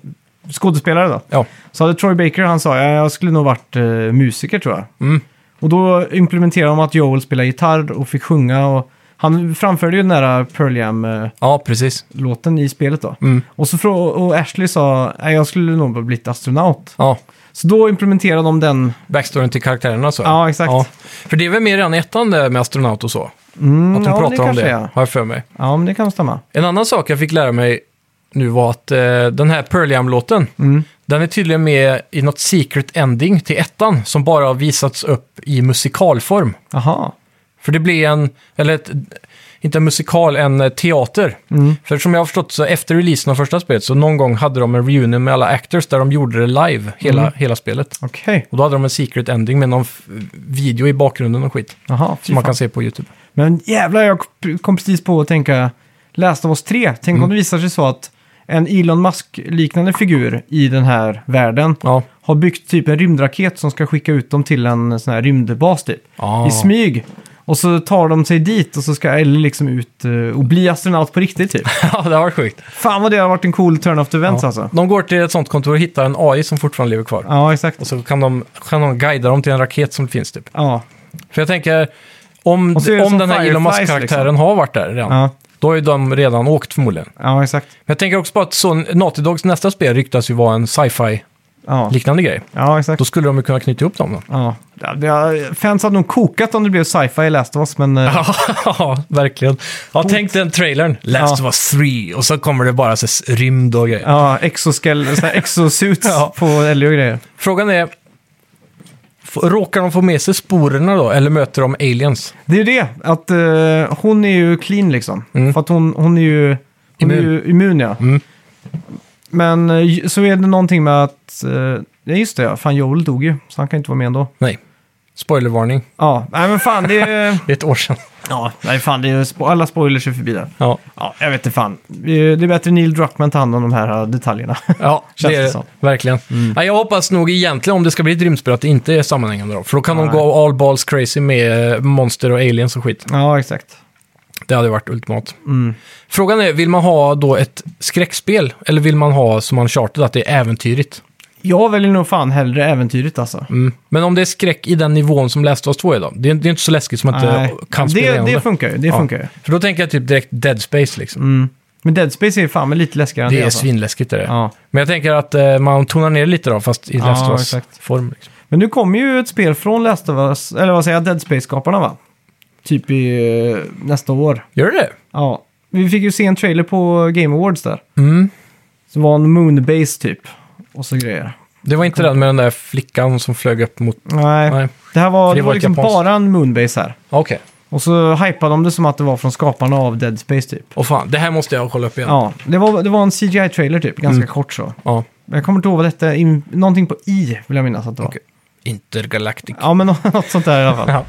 Speaker 2: skådespelare då.
Speaker 1: Ja.
Speaker 2: Så hade Troy Baker, han sa, "Ja, jag skulle nog varit eh, musiker tror jag.
Speaker 1: Mm.
Speaker 2: Och då implementerade de att Joel spelade gitarr och fick sjunga och han framförde ju den där Pearl Jam-låten
Speaker 1: ja, precis.
Speaker 2: i spelet då.
Speaker 1: Mm.
Speaker 2: Och, så frå- och Ashley sa, "Nej, jag skulle nog ha blivit astronaut.
Speaker 1: Ja,
Speaker 2: Så då implementerade de den,
Speaker 1: backstoryn till karaktärerna så.
Speaker 2: ja exakt.
Speaker 1: Ja. För det är väl mer redan i ettan där med astronaut och så.
Speaker 2: Mm,
Speaker 1: Att de
Speaker 2: ja,
Speaker 1: pratar om
Speaker 2: kanske
Speaker 1: det,
Speaker 2: är.
Speaker 1: har jag för mig.
Speaker 2: Ja, men det kan stämma.
Speaker 1: En annan sak jag fick lära mig nu var att eh, den här Pearl Jam-låten,
Speaker 2: Mm.
Speaker 1: den är tydligen med i något secret ending till ettan som bara har visats upp i musikalform.
Speaker 2: Jaha.
Speaker 1: För det blev en, eller ett, inte en musikal, en eh, teater.
Speaker 2: Mm.
Speaker 1: För som jag har förstått så efter releasen av första spelet så någon gång hade de en reunion med alla actors där de gjorde det live, hela,
Speaker 2: Mm.
Speaker 1: hela spelet.
Speaker 2: Okej,
Speaker 1: Och då hade de en secret ending med någon f- video i bakgrunden och skit.
Speaker 2: jaha. fy
Speaker 1: Som man
Speaker 2: fan.
Speaker 1: kan se på YouTube.
Speaker 2: Men jävlar, jag kom precis på att tänka Last of oss 3. Tänk
Speaker 1: Mm.
Speaker 2: om det visar sig så att en Elon Musk-liknande figur i den här världen
Speaker 1: Ja.
Speaker 2: har byggt typ en rymdraket som ska skicka ut dem till en sån här rymdbas typ.
Speaker 1: Ah.
Speaker 2: I smyg. Och så tar de sig dit och så ska Ellie liksom ut eh, och bli astronaut på riktigt typ.
Speaker 1: ja, det var sjukt.
Speaker 2: Fan vad det har varit en cool turn of events alltså.
Speaker 1: De går till ett sånt kontor och hittar en AI som fortfarande lever kvar.
Speaker 2: Ja, exakt.
Speaker 1: Och så kan de, kan de guida dem till en raket som finns typ.
Speaker 2: Ja,
Speaker 1: För jag tänker, om,
Speaker 2: Och så är det
Speaker 1: om
Speaker 2: som
Speaker 1: den här Elon
Speaker 2: Fireflies, liksom.
Speaker 1: Musk-karaktären har varit där redan,
Speaker 2: ja,
Speaker 1: då har ju de redan åkt förmodligen.
Speaker 2: ja exakt.
Speaker 1: Men jag tänker också på att så, Naughty Dogs nästa spel ryktas ju vara en sci-fi-liknande
Speaker 2: Ja,
Speaker 1: grej.
Speaker 2: ja exakt.
Speaker 1: Då skulle de ju kunna knyta ihop dem då.
Speaker 2: Ja. Ja, det har- Fans hade nog kokat om det blev sci-fi i Last of Us, men... eh,
Speaker 1: Ja, verkligen. Ja, tänk den trailern. Last
Speaker 2: Ja.
Speaker 1: of us 3 och så kommer det bara så s- rymd och grejer.
Speaker 2: Ja, exoskell, såna här exosuits
Speaker 1: Ja.
Speaker 2: på Ellie och grejer.
Speaker 1: Frågan är, f- råkar de få med sig sporerna då eller möter de aliens?
Speaker 2: Det är ju det, att eh, hon är ju clean liksom.
Speaker 1: Mm.
Speaker 2: För att hon, hon är ju hon Är
Speaker 1: Immun.
Speaker 2: ju immun ja.
Speaker 1: Mm.
Speaker 2: Men eh, ju- så är det någonting med att... eh, Nej, just det ja. Fan, Joel dog ju, så han kan inte vara med ändå.
Speaker 1: Nej. Spoilervarning.
Speaker 2: Ja, nej men fan det är...
Speaker 1: Det är ett år sedan.
Speaker 2: ja, nej fan det är spo- Alla spoilers är förbi där.
Speaker 1: Ja,
Speaker 2: Ja, jag vet inte fan. Eh, Det är bättre Neil Druckmann tar hand om de här eh, detaljerna.
Speaker 1: ja
Speaker 2: Känns
Speaker 1: det Mm. är
Speaker 2: det
Speaker 1: det.
Speaker 2: som.
Speaker 1: Verkligen. Ja, jag hoppas nog egentligen om det ska bli ett rymdspel att det inte är sammanhängande då. För då kan de
Speaker 2: Nej.
Speaker 1: gå all balls crazy med eh, monster och aliens och skit.
Speaker 2: ja, exakt.
Speaker 1: Det hade varit ultimat.
Speaker 2: Mm.
Speaker 1: Frågan är, vill man ha då ett skräckspel eller vill man ha som Uncharted att det är äventyrigt?
Speaker 2: Jag väljer nog fan hellre äventyret alltså.
Speaker 1: Mm. Men om det är skräck i den nivån som Last of Us 2 är då? Det är, det är inte så läskigt som att eh,
Speaker 2: Nej.
Speaker 1: det kan spela
Speaker 2: det,
Speaker 1: igenom
Speaker 2: det
Speaker 1: det.
Speaker 2: funkar ju, det
Speaker 1: Ja.
Speaker 2: funkar ju.
Speaker 1: För då tänker jag typ direkt Dead Space liksom.
Speaker 2: Mm. Men Dead Space är fan med lite läskigare
Speaker 1: Det
Speaker 2: än
Speaker 1: är
Speaker 2: alltså.
Speaker 1: svinläskigt är det.
Speaker 2: Ja.
Speaker 1: Men jag tänker att eh, man tonar ner lite då, fast i
Speaker 2: Ja,
Speaker 1: Last of
Speaker 2: exakt.
Speaker 1: Us-form. Liksom.
Speaker 2: Men nu kommer ju ett spel från Last of Us, eller vad säger jag, Dead Space-skaparna va? Typ i eh, nästa år.
Speaker 1: Gör det?
Speaker 2: Ja. Vi fick ju se en trailer på Game Awards där.
Speaker 1: Mm.
Speaker 2: Som var en moonbase typ. Och så grejer.
Speaker 1: Det var inte den med den där flickan som flög upp mot...
Speaker 2: Nej.
Speaker 1: Nej.
Speaker 2: Det här var,
Speaker 1: För
Speaker 2: det
Speaker 1: det var
Speaker 2: var
Speaker 1: ett
Speaker 2: liksom
Speaker 1: japanskt.
Speaker 2: bara en moonbase här.
Speaker 1: Okej.
Speaker 2: Och så hypade de det som att det var från skaparna av Dead Space typ.
Speaker 1: Åh fan, det här måste jag kolla upp igen. Ja.
Speaker 2: Ja, det var, det var en CGI-trailer typ, ganska
Speaker 1: Mm.
Speaker 2: kort så. Men Jag kommer inte ihåg vad detta, in, någonting på I vill jag minnas att det var.
Speaker 1: Okej. Intergalactic.
Speaker 2: Ja, men något sånt där i alla fall.
Speaker 1: Ja.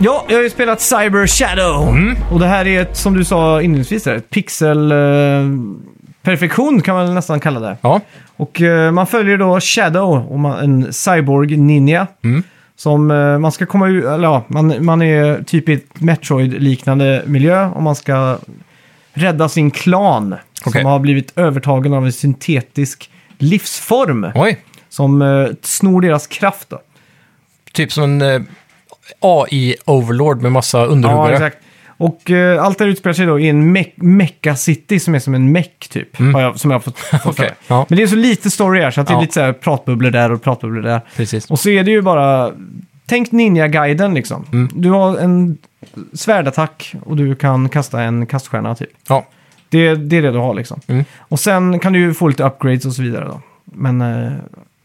Speaker 2: Ja, jag har ju spelat Cyber Shadow. Och det här är ett, som du sa inledningsvis, där, ett pixel... Eh, perfektion kan man nästan kalla det.
Speaker 1: Ja.
Speaker 2: Och eh, man följer då Shadow, och man, en cyborg ninja. Som eh, man ska komma ur, eller ja, man, man är typ i ett Metroid-liknande miljö och man ska rädda sin klan.
Speaker 1: Okej.
Speaker 2: Som har blivit övertagen av en syntetisk livsform.
Speaker 1: Oj.
Speaker 2: Som eh, snor deras kraft då.
Speaker 1: Typ som en eh, AI-overlord med massa underhuggare.
Speaker 2: Ja, exakt. Och eh, allt det här utspelar sig då i en me- Mecca-city som är som en meck typ. Har jag, som jag har fått, fått för
Speaker 1: Mm. Okej,
Speaker 2: mig.
Speaker 1: ja.
Speaker 2: Men det är så lite story här så att det är
Speaker 1: Ja.
Speaker 2: lite så här pratbubblor där och pratbubblor där.
Speaker 1: Precis.
Speaker 2: Och så är det ju bara, tänk Ninja-guiden liksom.
Speaker 1: Mm.
Speaker 2: Du har en svärdattack och du kan kasta en kaststjärna typ.
Speaker 1: Ja.
Speaker 2: Det, det är det du har liksom.
Speaker 1: Mm.
Speaker 2: Och sen kan du ju få lite upgrades och så vidare då. Men eh,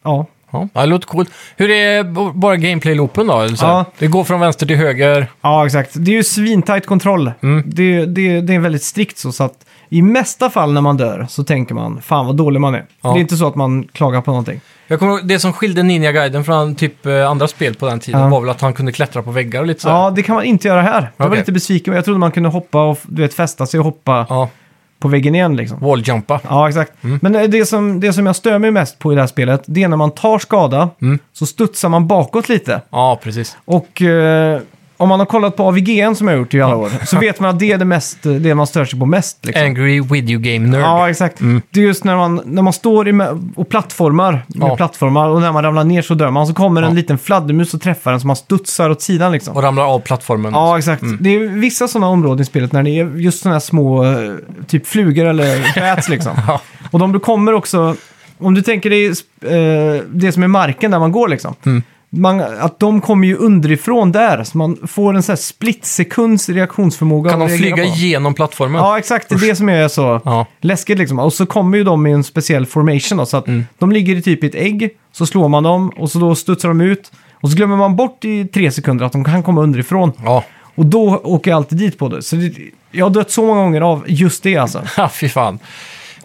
Speaker 2: ja,
Speaker 1: Ja, det låter coolt. Hur är b- bara gameplay-loopen då? Eller så här?
Speaker 2: Ja.
Speaker 1: Det går från vänster till höger.
Speaker 2: ja exakt. Det är ju svintajt kontroll.
Speaker 1: Mm.
Speaker 2: Det, det, det är väldigt strikt så, så att i mesta fall när man dör så tänker man fan vad dålig man är.
Speaker 1: Ja.
Speaker 2: Det är inte så att man klagar på någonting.
Speaker 1: Jag kommer ihåg, det som skilde Ninja-guiden från typ eh, andra spel på den tiden
Speaker 2: Ja.
Speaker 1: var väl att han kunde klättra på väggar och lite så. här.
Speaker 2: Ja, det kan man inte göra här. Jag var
Speaker 1: Okej.
Speaker 2: lite besviken. Jag trodde man kunde hoppa och du vet, fästa sig och hoppa
Speaker 1: ja. Mm.
Speaker 2: på väggen igen liksom.
Speaker 1: Walljumpa.
Speaker 2: Ja, exakt. Men eh, det som, det som jag stör mig mest på i det här spelet, det är när man tar skada
Speaker 1: Mm.
Speaker 2: så studsar man bakåt lite.
Speaker 1: Ja, precis.
Speaker 2: Och eh, om man har kollat på AVGN som jag har gjort i alla år så vet man att det är det, mest, det man stör sig på mest. Liksom.
Speaker 1: Angry video game nerd.
Speaker 2: Ja, exakt.
Speaker 1: Mm.
Speaker 2: Det är just när man, när man står i, mä- och plattformar, med
Speaker 1: Ja.
Speaker 2: plattformar och när man ramlar ner så dör man. Så kommer
Speaker 1: Ja.
Speaker 2: en liten fladdermus och träffar en så man studsar åt sidan liksom.
Speaker 1: Och ramlar av plattformen.
Speaker 2: Ja, exakt.
Speaker 1: Mm.
Speaker 2: Det är vissa sådana områden i spelet när det är just sådana här små eh, typ flugor eller bats liksom.
Speaker 1: Ja.
Speaker 2: Och de kommer också, om du tänker dig eh, det som är marken där man går liksom.
Speaker 1: Mm.
Speaker 2: Man, att de kommer ju underifrån där, så man får en sån här splitsekunds reaktionsförmåga.
Speaker 1: Kan de
Speaker 2: att reagera
Speaker 1: flyga
Speaker 2: på dem.
Speaker 1: igenom plattformen?
Speaker 2: Ja, exakt. Det är det som är så
Speaker 1: Ja.
Speaker 2: läskigt liksom. Och så kommer ju de i en speciell formation då, så att
Speaker 1: Mm.
Speaker 2: de ligger i typ i ett ägg, så slår man dem och så då studsar de ut. Och så glömmer man bort i tre sekunder att de kan komma underifrån.
Speaker 1: Ja.
Speaker 2: Och då åker jag alltid dit på det. Så det, jag har dött så många gånger av just det alltså.
Speaker 1: Ha, fy fan.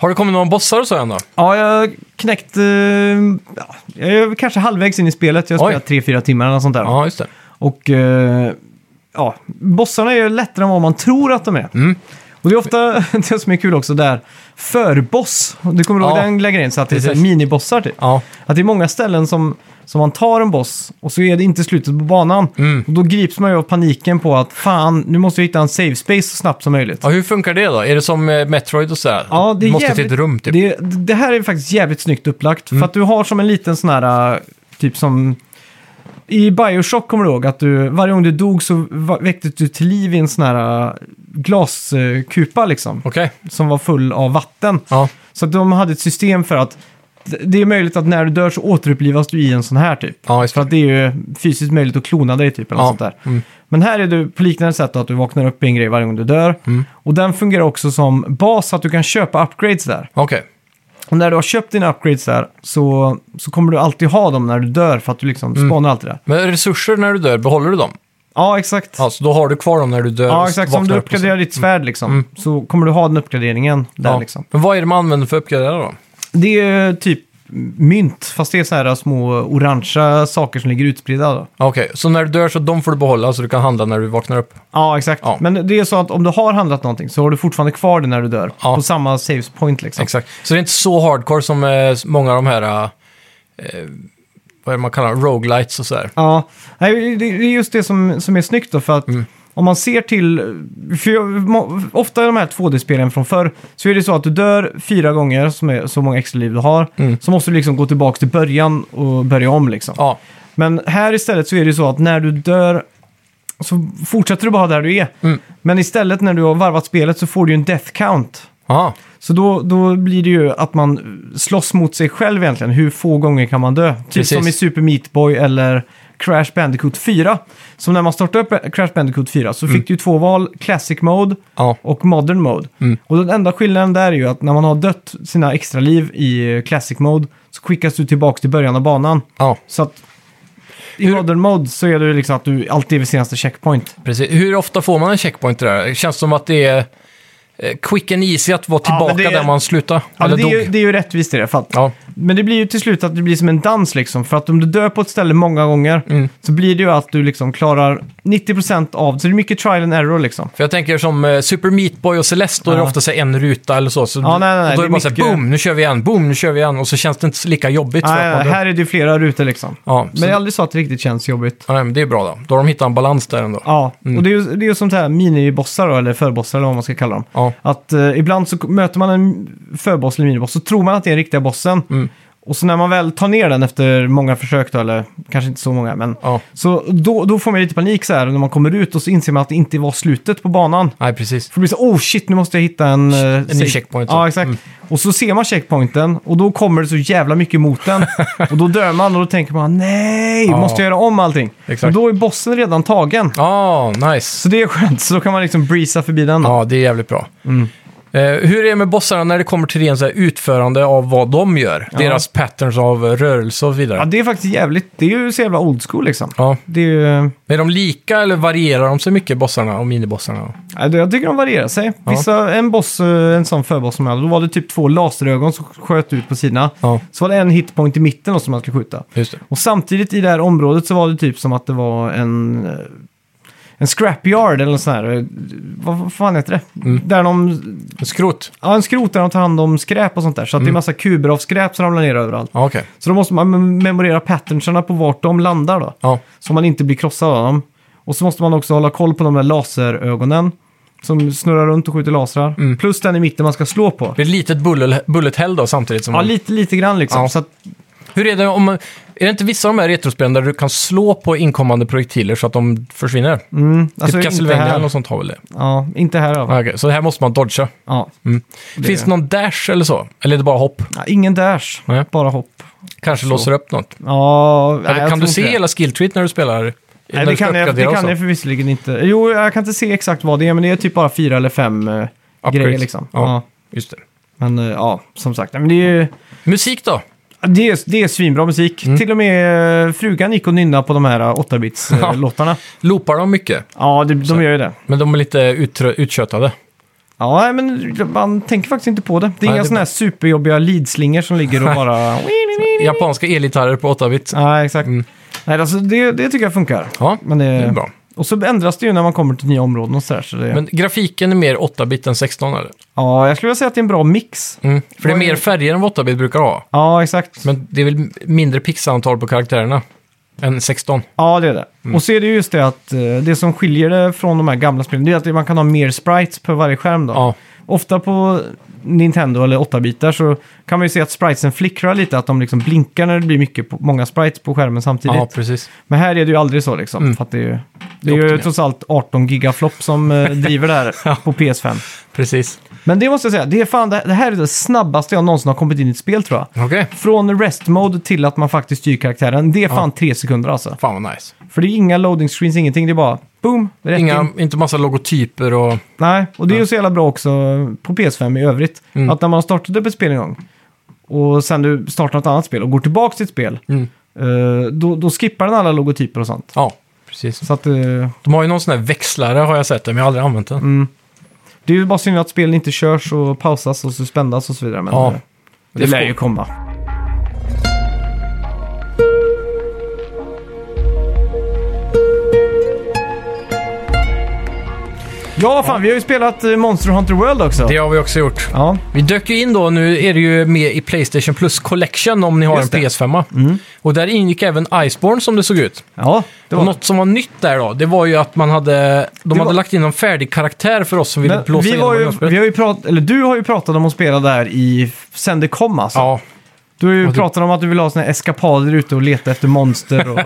Speaker 1: Har det kommit några bossar och så än då?
Speaker 2: Ja, jag har knäckt... Eh, ja, jag är kanske halvvägs in i spelet. Jag har
Speaker 1: Oj.
Speaker 2: spelat 3-4 timmar eller något sånt där.
Speaker 1: Ja, just det.
Speaker 2: Och eh, ja, bossarna är ju lättare än vad man tror att de är.
Speaker 1: Mm.
Speaker 2: Och det är ofta det som är kul också där, förboss. Du kommer ihåg
Speaker 1: Ja.
Speaker 2: den lilla grejen? Så att det är så här
Speaker 1: Precis.
Speaker 2: minibossar typ.
Speaker 1: Ja.
Speaker 2: Att det är många ställen som, som man tar en boss och så är det inte slutet på banan.
Speaker 1: Mm.
Speaker 2: Och då grips man ju av paniken på att fan, nu måste jag hitta en save space så snabbt som möjligt.
Speaker 1: ja. Hur funkar det då? Är det som eh, Metroid och sådär?
Speaker 2: Ja, det är
Speaker 1: du måste
Speaker 2: jävligt,
Speaker 1: till ett rum typ? Mm.
Speaker 2: Det, det här är faktiskt jävligt snyggt upplagt. För att du har som en liten sån här, äh, typ som... I Bioshock kommer du ihåg att du, varje gång du dog så va- väcktes du till liv i en sån här äh, glaskupa liksom.
Speaker 1: Okej.
Speaker 2: Som var full av vatten.
Speaker 1: Ja.
Speaker 2: Så att de hade ett system för att d- det är möjligt att när du dör så återupplivas du i en sån här typ.
Speaker 1: Ja, just
Speaker 2: För
Speaker 1: det.
Speaker 2: att det är ju fysiskt möjligt att klona dig typ eller
Speaker 1: Ja, mm.
Speaker 2: något sånt där. Men här är du på liknande sätt då, att du vaknar upp i en grej varje gång du dör.
Speaker 1: Mm.
Speaker 2: Och den fungerar också som bas så att du kan köpa upgrades där.
Speaker 1: Okej.
Speaker 2: Och när du har köpt dina upgrades där så, så kommer du alltid ha dem när du dör för att du liksom
Speaker 1: Mm.
Speaker 2: spanar alltid där.
Speaker 1: Men resurser när du dör, behåller du dem?
Speaker 2: Ja, exakt. Ja,
Speaker 1: Ja, så då har du kvar dem när du dör? och
Speaker 2: exakt.
Speaker 1: vaknar
Speaker 2: Som du
Speaker 1: upp och så. Mm.
Speaker 2: uppgraderar ditt svärd liksom så kommer du ha den uppgraderingen där
Speaker 1: Ja.
Speaker 2: liksom.
Speaker 1: Men vad är det man använder för att uppgradera då?
Speaker 2: Det är typ mynt, fast det är så här små orangea saker som ligger utspridda då.
Speaker 1: Ja, Okej, så när du dör så de får du behålla så du kan handla när du vaknar upp?
Speaker 2: Ja, exakt.
Speaker 1: Ja.
Speaker 2: Men det är så att om du har handlat någonting så har du fortfarande kvar det när du dör.
Speaker 1: Ja.
Speaker 2: På samma saves point liksom.
Speaker 1: Exakt. Så det är inte så hardcore som eh, många av de här, eh, vad är det man kallar dem? roguelites och sådär.
Speaker 2: Ja, Nej, det det är just det som, som är snyggt då, för att
Speaker 1: Mm.
Speaker 2: om man ser till... För jag, må- ofta i de här 2D-spelen från förr så är det så att du dör fyra gånger, som är så många extra liv du har, så måste du liksom gå tillbaka till början och börja om liksom.
Speaker 1: Mm. Ja,
Speaker 2: Men här istället så är det ju så att när du dör så fortsätter du bara där du är.
Speaker 1: Mm.
Speaker 2: Men istället när du har varvat spelet så får du ju en death count.
Speaker 1: ja.
Speaker 2: Så då, då blir det ju att man slåss mot sig själv egentligen. Hur få gånger kan man dö? Typ
Speaker 1: Precis.
Speaker 2: som i Super Meat Boy eller Crash Bandicoot 4. Som när man startade upp Crash Bandicoot 4 så fick
Speaker 1: Mm.
Speaker 2: du ju två val, Classic Mode
Speaker 1: ja.
Speaker 2: och Modern Mode.
Speaker 1: Mm.
Speaker 2: Och den enda skillnaden där är ju att när man har dött sina extra liv i Classic Mode så skickas du tillbaka till början av banan.
Speaker 1: ja.
Speaker 2: Så att i Modern Mode så är det liksom att du alltid är vid senaste checkpoint.
Speaker 1: Precis. Hur ofta får man en checkpoint där? Det känns som att det är eh, quick and easy att vara
Speaker 2: men
Speaker 1: tillbaka
Speaker 2: det är-
Speaker 1: där man slutade,
Speaker 2: Ja,
Speaker 1: eller
Speaker 2: men det, är
Speaker 1: dog.
Speaker 2: ju, det är ju rättvist i det för att
Speaker 1: Ja.
Speaker 2: Men det blir ju till slut att det blir som en dans liksom. För att om du dör på ett ställe många gånger
Speaker 1: Mm.
Speaker 2: så blir det ju att du liksom klarar 90% av... Så det är mycket trial and error liksom.
Speaker 1: För jag tänker som eh, Super Meat Boy och Celeste, då är det
Speaker 2: Ja.
Speaker 1: ofta så här en ruta eller så. så
Speaker 2: Ja, nej, nej, nej,
Speaker 1: då är
Speaker 2: det
Speaker 1: det
Speaker 2: är
Speaker 1: bara så här,
Speaker 2: mycket-
Speaker 1: boom, nu kör vi igen, boom, nu kör vi igen. Och så känns det inte så lika jobbigt. för
Speaker 2: Nej,
Speaker 1: att man dör.
Speaker 2: här är det ju flera rutor liksom.
Speaker 1: Ja, så,
Speaker 2: Men det är aldrig så att det riktigt känns jobbigt.
Speaker 1: ja, men det är bra då. Då har de hittat en balans där ändå.
Speaker 2: Ja, och det är ju, det är ju sånt här minibossar då, eller förbossar eller vad man ska kalla dem.
Speaker 1: Ja.
Speaker 2: Att eh, ibland så k- möter man en förboss eller miniboss så tror man att det är den riktiga bossen. Och så när man väl tar ner den efter många försök då, eller kanske inte så många, men...
Speaker 1: Ja.
Speaker 2: Så då, då får man lite panik så här när man kommer ut och så inser man att det inte var slutet på banan.
Speaker 1: Nej, precis.
Speaker 2: För det blir så, oh shit, nu måste jag hitta en... eh,
Speaker 1: ny
Speaker 2: safe-
Speaker 1: checkpoint, Mm. så.
Speaker 2: Ja, exakt. Och så ser man checkpointen och då kommer det så jävla mycket mot den. och då dör man och då tänker man, nej,
Speaker 1: Ja.
Speaker 2: måste jag göra om allting?
Speaker 1: Exakt.
Speaker 2: Och då är bossen redan tagen.
Speaker 1: Ja, nice.
Speaker 2: Så det är skönt, så då kan man liksom breeza förbi den.
Speaker 1: Ja, det är jävligt bra. Eh, hur är det med bossarna när det kommer till ren så här, utförande av vad de gör? Deras patterns av eh, rörelse och så vidare.
Speaker 2: Ja, det är faktiskt jävligt. Det är ju så jävla old school liksom.
Speaker 1: Ja.
Speaker 2: Det är ju...
Speaker 1: Är de lika eller varierar de sig mycket, bossarna och minibossarna?
Speaker 2: Ja, det- Jag tycker de varierar sig.
Speaker 1: Ja.
Speaker 2: Vissa, en boss, eh, en sån förboss som jag hade, då var det typ två laserögon som sköt ut på sidorna.
Speaker 1: Ja,
Speaker 2: Så var det en hitpoint i mitten då som man skulle skjuta.
Speaker 1: just det.
Speaker 2: Och samtidigt i det här området så var det typ som att det var en, eh, en scrapyard eller något sånt här. eh, Vad vad fan heter det?
Speaker 1: Mm.
Speaker 2: Där de,
Speaker 1: Skrot?
Speaker 2: ja, en skrot där de tar hand om skräp och sånt där. Så
Speaker 1: Mm.
Speaker 2: att det är massa kuber av skräp som ramlar ner överallt.
Speaker 1: Ja, okej.
Speaker 2: Så då måste man mem- memorera patternsarna på vart de landar då.
Speaker 1: Ja.
Speaker 2: Så man inte blir krossad av dem. Och så måste man också hålla koll på de där laserögonen. Som snurrar runt och skjuter lasrar.
Speaker 1: Mm.
Speaker 2: Plus den i mitten man ska slå på.
Speaker 1: Det är ett litet bullet, bullet hell då samtidigt som...
Speaker 2: Ja,
Speaker 1: man-
Speaker 2: lite, lite grann liksom.
Speaker 1: Mm. Ja.
Speaker 2: Så att,
Speaker 1: Hur är det om... man- Är det inte vissa av de här retrospelen där du kan slå på inkommande projektiler så att de försvinner?
Speaker 2: mm,
Speaker 1: typ
Speaker 2: alltså, inte
Speaker 1: Castlevania eller
Speaker 2: här.
Speaker 1: något sånt har väl det?
Speaker 2: Ja, inte här i alla fall.
Speaker 1: Ah, okej. Så det här måste man dodga.
Speaker 2: Ja. Det-
Speaker 1: Mm. Finns det någon dash eller så? Eller är det bara hopp?
Speaker 2: Ja, ingen dash,
Speaker 1: Nej.
Speaker 2: bara hopp.
Speaker 1: Kanske
Speaker 2: Så.
Speaker 1: låser upp något?
Speaker 2: Ja, nej,
Speaker 1: eller
Speaker 2: jag
Speaker 1: kan
Speaker 2: tror
Speaker 1: du se
Speaker 2: inte det.
Speaker 1: hela skill treat när du spelar? när
Speaker 2: Nej,
Speaker 1: du
Speaker 2: det
Speaker 1: ska
Speaker 2: kan, jag, det
Speaker 1: uppgradera och
Speaker 2: kan
Speaker 1: så?
Speaker 2: jag för visserligen inte. Jo, jag kan inte se exakt vad det är, men det är typ bara fyra eller fem eh,
Speaker 1: Upgrades.
Speaker 2: grejer liksom.
Speaker 1: Ja.
Speaker 2: Ja.
Speaker 1: Just det.
Speaker 2: Men eh, ja, som sagt, men det är ju...
Speaker 1: Musik då?
Speaker 2: Det är, det är svinbra musik.
Speaker 1: Mm.
Speaker 2: Till och med eh, frugan gick och nynnade på de här eh, 8-bits-låtarna.
Speaker 1: Loopar de mycket?
Speaker 2: ja, det, de gör ju det.
Speaker 1: Men de är lite utrö- uttjötade.
Speaker 2: Ja, nej, men man tänker faktiskt inte på det. Det är
Speaker 1: Nej,
Speaker 2: inga
Speaker 1: det-
Speaker 2: sådana här superjobbiga leadslingor som ligger och bara...
Speaker 1: Japanska elgitarrer på 8-bit.
Speaker 2: Nej, exakt.
Speaker 1: Mm.
Speaker 2: Nej, alltså, det, det tycker jag funkar.
Speaker 1: Ja,
Speaker 2: Men det,
Speaker 1: det är bra.
Speaker 2: Och så ändras det ju när man kommer till nya områden och sådär. Så det,
Speaker 1: Men grafiken är mer 8-bit än 16 eller?
Speaker 2: Ja, jag skulle vilja säga att det är en bra mix.
Speaker 1: Mm. För det är mer färger än vad 8-bit brukar ha.
Speaker 2: Ja, exakt.
Speaker 1: Men det är väl mindre pixelantal på karaktärerna än 16.
Speaker 2: Ja, det är det.
Speaker 1: Mm.
Speaker 2: Och så är det ju just det att eh, det som skiljer det från de här gamla spelen, det är att man kan ha mer sprites på varje skärm då.
Speaker 1: Ja,
Speaker 2: Ofta på Nintendo eller 8-bitar så kan man ju se att spritesen flickrar lite, att de liksom blinkar när det blir mycket, på, många sprites på skärmen samtidigt.
Speaker 1: ja precis.
Speaker 2: Men här är det ju aldrig så liksom.
Speaker 1: Mm.
Speaker 2: För att det är ju,
Speaker 1: Det
Speaker 2: det
Speaker 1: är
Speaker 2: är ju
Speaker 1: optimerat.
Speaker 2: trots allt 18 gigaflop som eh, driver det här på PS5.
Speaker 1: precis.
Speaker 2: Men det måste jag säga, det, är fan, det det här är det snabbaste jag någonsin har kommit in i ett spel tror jag.
Speaker 1: Okej.
Speaker 2: Från rest mode till att man faktiskt styr karaktären, det är fan tre sekunder alltså.
Speaker 1: Fan vad nice.
Speaker 2: För det är inga loading screens, ingenting. Det är bara boom, rätt
Speaker 1: Inga,
Speaker 2: in.
Speaker 1: inte massa logotyper och...
Speaker 2: Nej, och det är ju så jävla bra också på PS5 i övrigt.
Speaker 1: Mm.
Speaker 2: Att när man har startat upp ett spel en gång och sen du startar något annat spel och går tillbaka till ett spel,
Speaker 1: Mm.
Speaker 2: eh, då, då skippar den alla logotyper och sånt.
Speaker 1: Ja, precis.
Speaker 2: Så att, eh,
Speaker 1: De har ju någon sån här växlare har jag sett, men jag har aldrig använt den.
Speaker 2: Mm. det är ju bara synd att spelen inte körs och pausas och suspendas och så vidare. Men
Speaker 1: Ja.
Speaker 2: eh, det, lär ju komma. Ja, fan, vi har ju spelat eh, Monster Hunter World också.
Speaker 1: Det har vi också gjort.
Speaker 2: Ja,
Speaker 1: Vi dök ju in då, nu är det ju med i Playstation Plus Collection om ni har
Speaker 2: Just
Speaker 1: en
Speaker 2: det.
Speaker 1: PS5. Och där ingick även Iceborne som det såg ut.
Speaker 2: ja det
Speaker 1: Och
Speaker 2: var
Speaker 1: något som var nytt där då, det var ju att man hade, de
Speaker 2: Det
Speaker 1: hade
Speaker 2: var-
Speaker 1: lagt in en färdig karaktär för oss som ville
Speaker 2: Men
Speaker 1: blåsa
Speaker 2: vi
Speaker 1: igenom
Speaker 2: var ju,
Speaker 1: originalspelet.
Speaker 2: vi har ju prat, eller Du har ju pratat om att spela där i sen det kom alltså.
Speaker 1: Ja,
Speaker 2: Du har ju
Speaker 1: Och du-
Speaker 2: pratat om att du vill ha såna här eskapader ute och leta efter monster och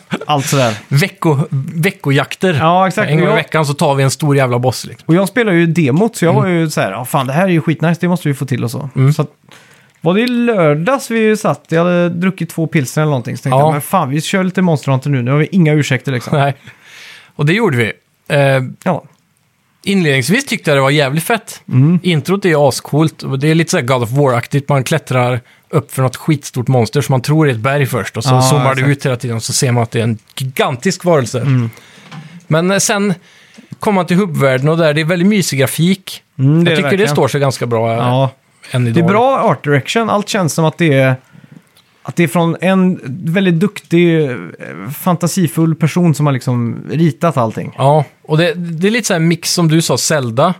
Speaker 2: allt sådär.
Speaker 1: vecko, veckojakter.
Speaker 2: Ja, exakt.
Speaker 1: En gång i
Speaker 2: Ja.
Speaker 1: veckan så tar vi en stor jävla boss. Liksom.
Speaker 2: Och jag spelar ju demot så jag
Speaker 1: Mm.
Speaker 2: var ju så här, ja fan det här är ju skitnice, det måste vi få till och så. så att, var det i lördags vi satt, jag hade druckit två pilsner eller någonting, så tänkte
Speaker 1: Ja.
Speaker 2: jag men fan vi kör lite Monster Hunter nu, nu har vi inga ursäkter liksom.
Speaker 1: Nej. Och det gjorde vi. Eh,
Speaker 2: Ja,
Speaker 1: inledningsvis tyckte jag det var jävligt fett.
Speaker 2: Mm.
Speaker 1: Introt är ju ascoolt. Och Det är lite så här God of War-aktigt. Man klättrar upp för något skitstort monster som man tror är ett berg först. Och så
Speaker 2: Ja,
Speaker 1: zoomar det
Speaker 2: exakt. Mm.
Speaker 1: ut hela tiden och så ser man att det är en gigantisk varelse. Men eh, sen kommer man till hubbvärlden och där det är väldigt mysig grafik.
Speaker 2: Mm, det är
Speaker 1: jag
Speaker 2: det
Speaker 1: tycker det
Speaker 2: verkligen.
Speaker 1: står sig ganska bra eh,
Speaker 2: ja.
Speaker 1: än
Speaker 2: Det
Speaker 1: idag.
Speaker 2: är bra art direction, allt känns som att det är att det är från en väldigt duktig, eh, fantasifull person som har liksom ritat allting.
Speaker 1: Ja, och det, det är lite så här mix som du sa, Zelda.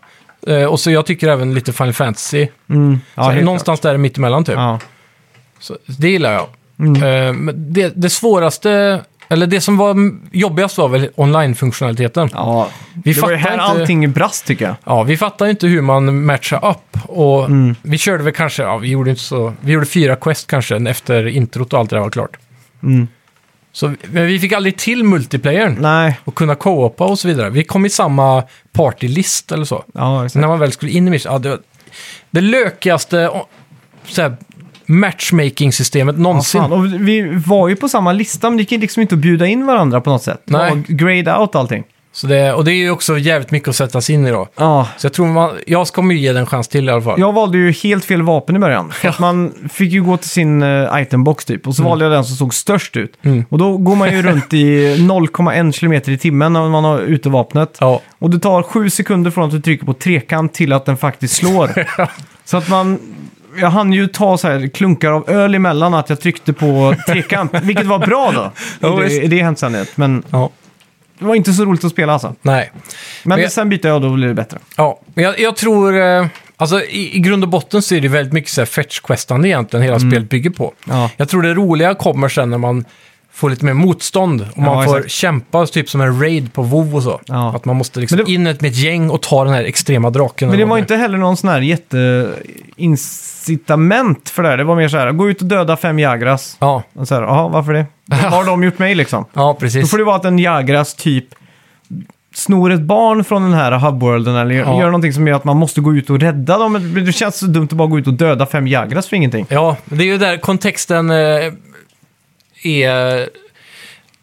Speaker 1: Eh, och så jag tycker även lite Final Fantasy.
Speaker 2: Mm.
Speaker 1: så
Speaker 2: Ja,
Speaker 1: här,
Speaker 2: helt
Speaker 1: någonstans där mittemellan typ.
Speaker 2: klart. Ja. Mm.
Speaker 1: Så det gillar jag. Eh, men det, det svåraste, eller det som var m- jobbigast var väl online-funktionaliteten.
Speaker 2: ja.
Speaker 1: Vi
Speaker 2: det var ju här
Speaker 1: fattar inte-
Speaker 2: allting brast tycker jag.
Speaker 1: Ja, vi fattar ju inte hur man matchar upp. Och
Speaker 2: Mm.
Speaker 1: vi körde väl kanske, ja, vi gjorde inte så, vi gjorde fyra quest kanske efter introt och allt det där var klart.
Speaker 2: Mm.
Speaker 1: Så, men vi fick aldrig till multiplayern
Speaker 2: Nej,
Speaker 1: och kunna co-opa och så vidare. Vi kom i samma partylist eller så.
Speaker 2: ja
Speaker 1: Så
Speaker 2: exakt.
Speaker 1: när man väl skulle in i mission, ja, det, var det lökigaste och- så här, matchmaking-systemet
Speaker 2: Ja,
Speaker 1: någonsin.
Speaker 2: fan. Och vi var ju på samma lista men det gick liksom inte att bjuda in varandra på något sätt.
Speaker 1: Nej.
Speaker 2: Och grade out allting.
Speaker 1: Så det, och det är ju också jävligt mycket att sätta sig in i då.
Speaker 2: Ja.
Speaker 1: Så jag tror man, jag kommer ju ge den en chans till i alla fall.
Speaker 2: Jag valde ju helt fel vapen i början. För att man fick ju gå till sin eh, itembox typ
Speaker 1: Mm.
Speaker 2: och så valde jag den som såg störst ut. Och då går man ju runt i 0,1 km i timmen när man har utevapnet.
Speaker 1: Ja.
Speaker 2: Och det tar sju sekunder från att du trycker på trekant till att den faktiskt slår. så att man... Jag hann ju ta så här klunkar av öl emellan att jag tryckte på trekant, vilket var bra då.
Speaker 1: Ja,
Speaker 2: I det,
Speaker 1: visst.
Speaker 2: i det händseendet. Men
Speaker 1: Ja,
Speaker 2: det var inte så roligt att spela alltså.
Speaker 1: nej.
Speaker 2: Men,
Speaker 1: Men jag-
Speaker 2: sen bytte jag och då blev det bättre.
Speaker 1: Ja, men jag, jag tror... eh, Alltså i, i grund och botten så är det väldigt mycket så här fetch-questande egentligen hela
Speaker 2: Mm.
Speaker 1: spelet bygger på.
Speaker 2: Ja.
Speaker 1: Jag tror det roliga kommer sen när man får lite mer motstånd och man
Speaker 2: Ja,
Speaker 1: får
Speaker 2: exakt.
Speaker 1: kämpa typ som en raid på WoW och så.
Speaker 2: Ja.
Speaker 1: Att man måste liksom
Speaker 2: Men det-
Speaker 1: in med ett gäng och ta den här extrema draken.
Speaker 2: Men det
Speaker 1: eller
Speaker 2: var
Speaker 1: vad
Speaker 2: inte heller någon sån här jätteincitament för det här. Det var mer så här, gå ut och döda fem jagras.
Speaker 1: Ja,
Speaker 2: Och så här, jaha, varför det? Vad har de gjort mig liksom?
Speaker 1: ja
Speaker 2: Då
Speaker 1: precis.
Speaker 2: får det vara att en jagras typ snor ett barn från den här hubworlden eller
Speaker 1: Ja.
Speaker 2: gör någonting som gör att man måste gå ut och rädda dem. Men Det känns så dumt att bara gå ut och döda fem jagras för ingenting.
Speaker 1: Ja, det är ju där kontexten eh, är...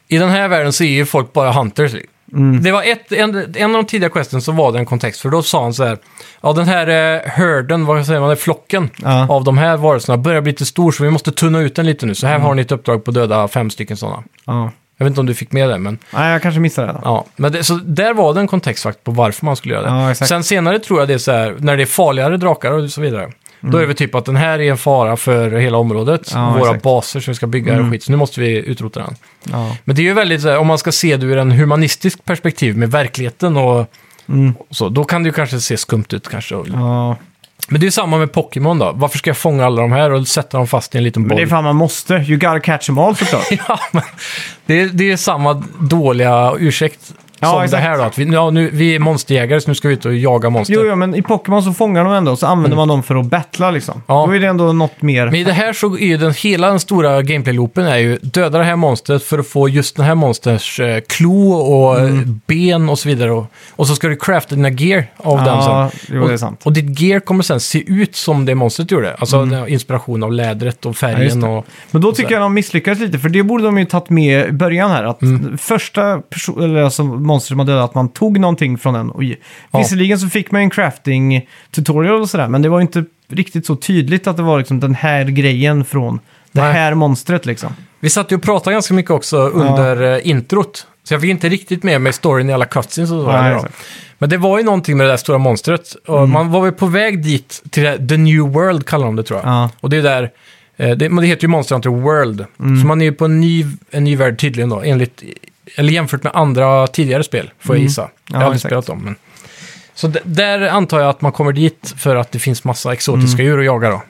Speaker 1: I den här världen så är ju folk bara hunters.
Speaker 2: Mm.
Speaker 1: Det var ett, en, en av de tidiga questen så var det en kontext, för då sa han så här, ja den här eh, herden, vad säger man, det, flocken
Speaker 2: Ja.
Speaker 1: av de här varelserna börjar bli lite stor så vi måste tunna ut den lite nu. Så här
Speaker 2: Mm.
Speaker 1: har ni ett uppdrag på att döda fem stycken sådana.
Speaker 2: Ja.
Speaker 1: Jag vet inte om du fick med det, men
Speaker 2: Nej, jag kanske missade det. Då.
Speaker 1: ja. Men det, så där var det en kontext faktiskt på varför man skulle göra det.
Speaker 2: Ja, exakt.
Speaker 1: Sen senare tror jag det är så här, när det är farligare drakar och så vidare. Då är det typ att den här är en fara för hela området.
Speaker 2: Mm. Ja,
Speaker 1: våra
Speaker 2: exakt. Mm.
Speaker 1: baser som vi ska bygga här och skit. Så nu måste vi utrota den.
Speaker 2: Ja.
Speaker 1: Men det är ju väldigt, så här, om man ska se det ur en humanistisk perspektiv med verkligheten och,
Speaker 2: Mm.
Speaker 1: och så. Då kan det ju kanske se skumt ut kanske. Och-
Speaker 2: ja.
Speaker 1: Men det är ju samma med Pokémon då. Varför ska jag fånga alla de här och sätta dem fast i en liten
Speaker 2: Men
Speaker 1: boll?
Speaker 2: det är fan man måste. You gotta catch them all såklart.
Speaker 1: Ja, men det, är, det är samma dåliga ursäkt
Speaker 2: Ja,
Speaker 1: som
Speaker 2: exakt.
Speaker 1: det här då. Att vi, ja, nu, vi är monsterjägare så nu ska vi ut och jaga monster.
Speaker 2: Jo, jo, men i Pokémon så fångar de ändå så använder man dem för att battla liksom.
Speaker 1: Mm. Ja.
Speaker 2: Då är det ändå något mer.
Speaker 1: Men i det här så är ju den, hela den stora gameplay-loopen är ju döda det här monstret för att få just den här monsters eh, klo och eh,
Speaker 2: Mm.
Speaker 1: ben och så vidare. Och, och så ska du crafta dina gear av
Speaker 2: Ja,
Speaker 1: den sen.
Speaker 2: jo,
Speaker 1: och,
Speaker 2: det är sant. Mm.
Speaker 1: och ditt gear kommer sen se ut som det monstret gjorde. Alltså den inspiration av lädret och
Speaker 2: Ja, just
Speaker 1: färgen
Speaker 2: det.
Speaker 1: och...
Speaker 2: Men då tycker jag de misslyckades lite, för det borde de ju tagit med i början här. Att
Speaker 1: Mm.
Speaker 2: första perso- eller alltså monster som man dödat, att man tog någonting från den. Och ge-
Speaker 1: Ja.
Speaker 2: Visserligen så fick man ju en crafting tutorial och sådär, men det var ju inte riktigt så tydligt att det var liksom den här grejen från det
Speaker 1: Nej.
Speaker 2: här monstret liksom.
Speaker 1: Vi satt ju och pratade ganska mycket också under eh, introt. Så jag fick inte riktigt med mig storyn i alla cutscenes och så.
Speaker 2: Nej,
Speaker 1: Nej,
Speaker 2: exakt. Mm.
Speaker 1: Men det var ju någonting med det där stora monstret. Och Man var väl på väg dit till det, här The New World kallar de det tror jag.
Speaker 2: Ja.
Speaker 1: Och det är där, eh, det, men det heter ju Monster Hunter World.
Speaker 2: Mm.
Speaker 1: Så man är ju på en ny, en ny värld tydligen då, enligt, eller jämfört med andra tidigare spel, får jag gissa. jag har aldrig
Speaker 2: Mm. exakt.
Speaker 1: spelat dem. Men. Så d- där antar jag att man kommer dit för att det finns massa exotiska
Speaker 2: Mm.
Speaker 1: djur att jaga då,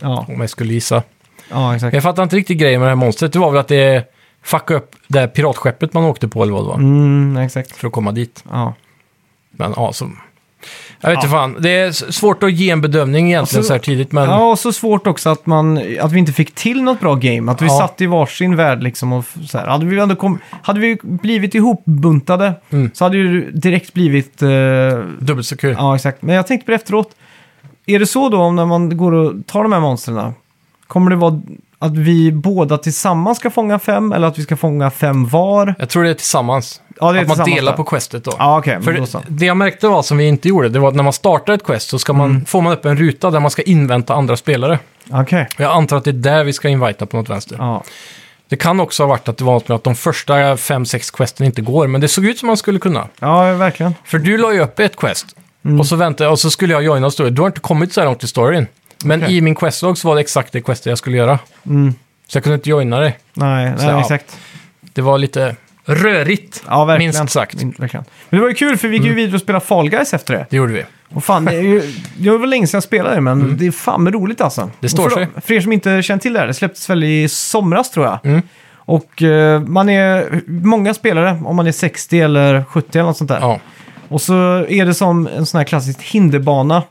Speaker 2: Ja,
Speaker 1: om jag skulle gissa.
Speaker 2: ja exakt.
Speaker 1: Men Jag fattar inte riktigt grejen med det här monstret. Det var väl att det fuckade upp det här piratskeppet man åkte på eller vad det var.
Speaker 2: Mm, exakt.
Speaker 1: För att komma dit.
Speaker 2: Ja.
Speaker 1: Men ja, så... Jag vet inte fan. Det är s- svårt att ge en bedömning egentligen
Speaker 2: Och så-
Speaker 1: så här tidigt. Men
Speaker 2: Alltså, ja, och så svårt också att, man, att vi inte fick till något bra game. Att vi
Speaker 1: Ja.
Speaker 2: satt i varsin värld liksom och f- så här. Hade vi, ändå kom, hade vi blivit ihopbuntade
Speaker 1: Mm.
Speaker 2: så hade ju direkt blivit... eh,
Speaker 1: dubbelt så kul.
Speaker 2: Ja, exakt. Men jag tänkte på det efteråt. Är det så då om när man går och tar de här monstren? Kommer det vara att vi båda tillsammans ska fånga fem eller att vi ska fånga fem var?
Speaker 1: Jag tror det är tillsammans.
Speaker 2: Ja, det är
Speaker 1: att man
Speaker 2: tillsammans,
Speaker 1: delar
Speaker 2: ja.
Speaker 1: på questet då.
Speaker 2: Ja, okej.
Speaker 1: För
Speaker 2: men då
Speaker 1: det,
Speaker 2: så.
Speaker 1: det jag märkte var som vi inte gjorde, det var att när man startar ett quest så ska man,
Speaker 2: Mm.
Speaker 1: får man upp en ruta där man ska invänta andra spelare.
Speaker 2: Okej.
Speaker 1: Jag antar att det är där vi ska invita på något vänster.
Speaker 2: Ja.
Speaker 1: Det kan också ha varit att det var något med att de första fem sex questen inte går, men det såg ut som man skulle kunna.
Speaker 2: ja, verkligen.
Speaker 1: För du la ju upp ett quest.
Speaker 2: Mm.
Speaker 1: Och, så väntade, och så skulle jag joina storyn. Du har inte kommit så här långt i storyn. Men
Speaker 2: Okej.
Speaker 1: i min questlog så var det exakt det questet jag skulle göra.
Speaker 2: Mm.
Speaker 1: Så jag kunde inte joina dig.
Speaker 2: Nej,
Speaker 1: Så,
Speaker 2: nej
Speaker 1: ja.
Speaker 2: exakt.
Speaker 1: Det var lite rörigt.
Speaker 2: Ja, verkligen.
Speaker 1: Minst sagt. Mm.
Speaker 2: Min- verkligen. Men det var ju kul för vi gick ju vidare och spelade Fall Guys efter det.
Speaker 1: Det gjorde vi.
Speaker 2: Och fan, det, är ju, det var väl länge sedan jag spelade det, men det är fan med roligt alltså.
Speaker 1: Mm. Det står
Speaker 2: Och för,
Speaker 1: sig.
Speaker 2: För er som inte känner till det här, det släpptes väl i somras tror jag.
Speaker 1: Mm.
Speaker 2: Och eh, man är många spelare, om man är 60 eller 70 eller något sånt där.
Speaker 1: Ja.
Speaker 2: Och så är det som en sån här klassisk hinderbana.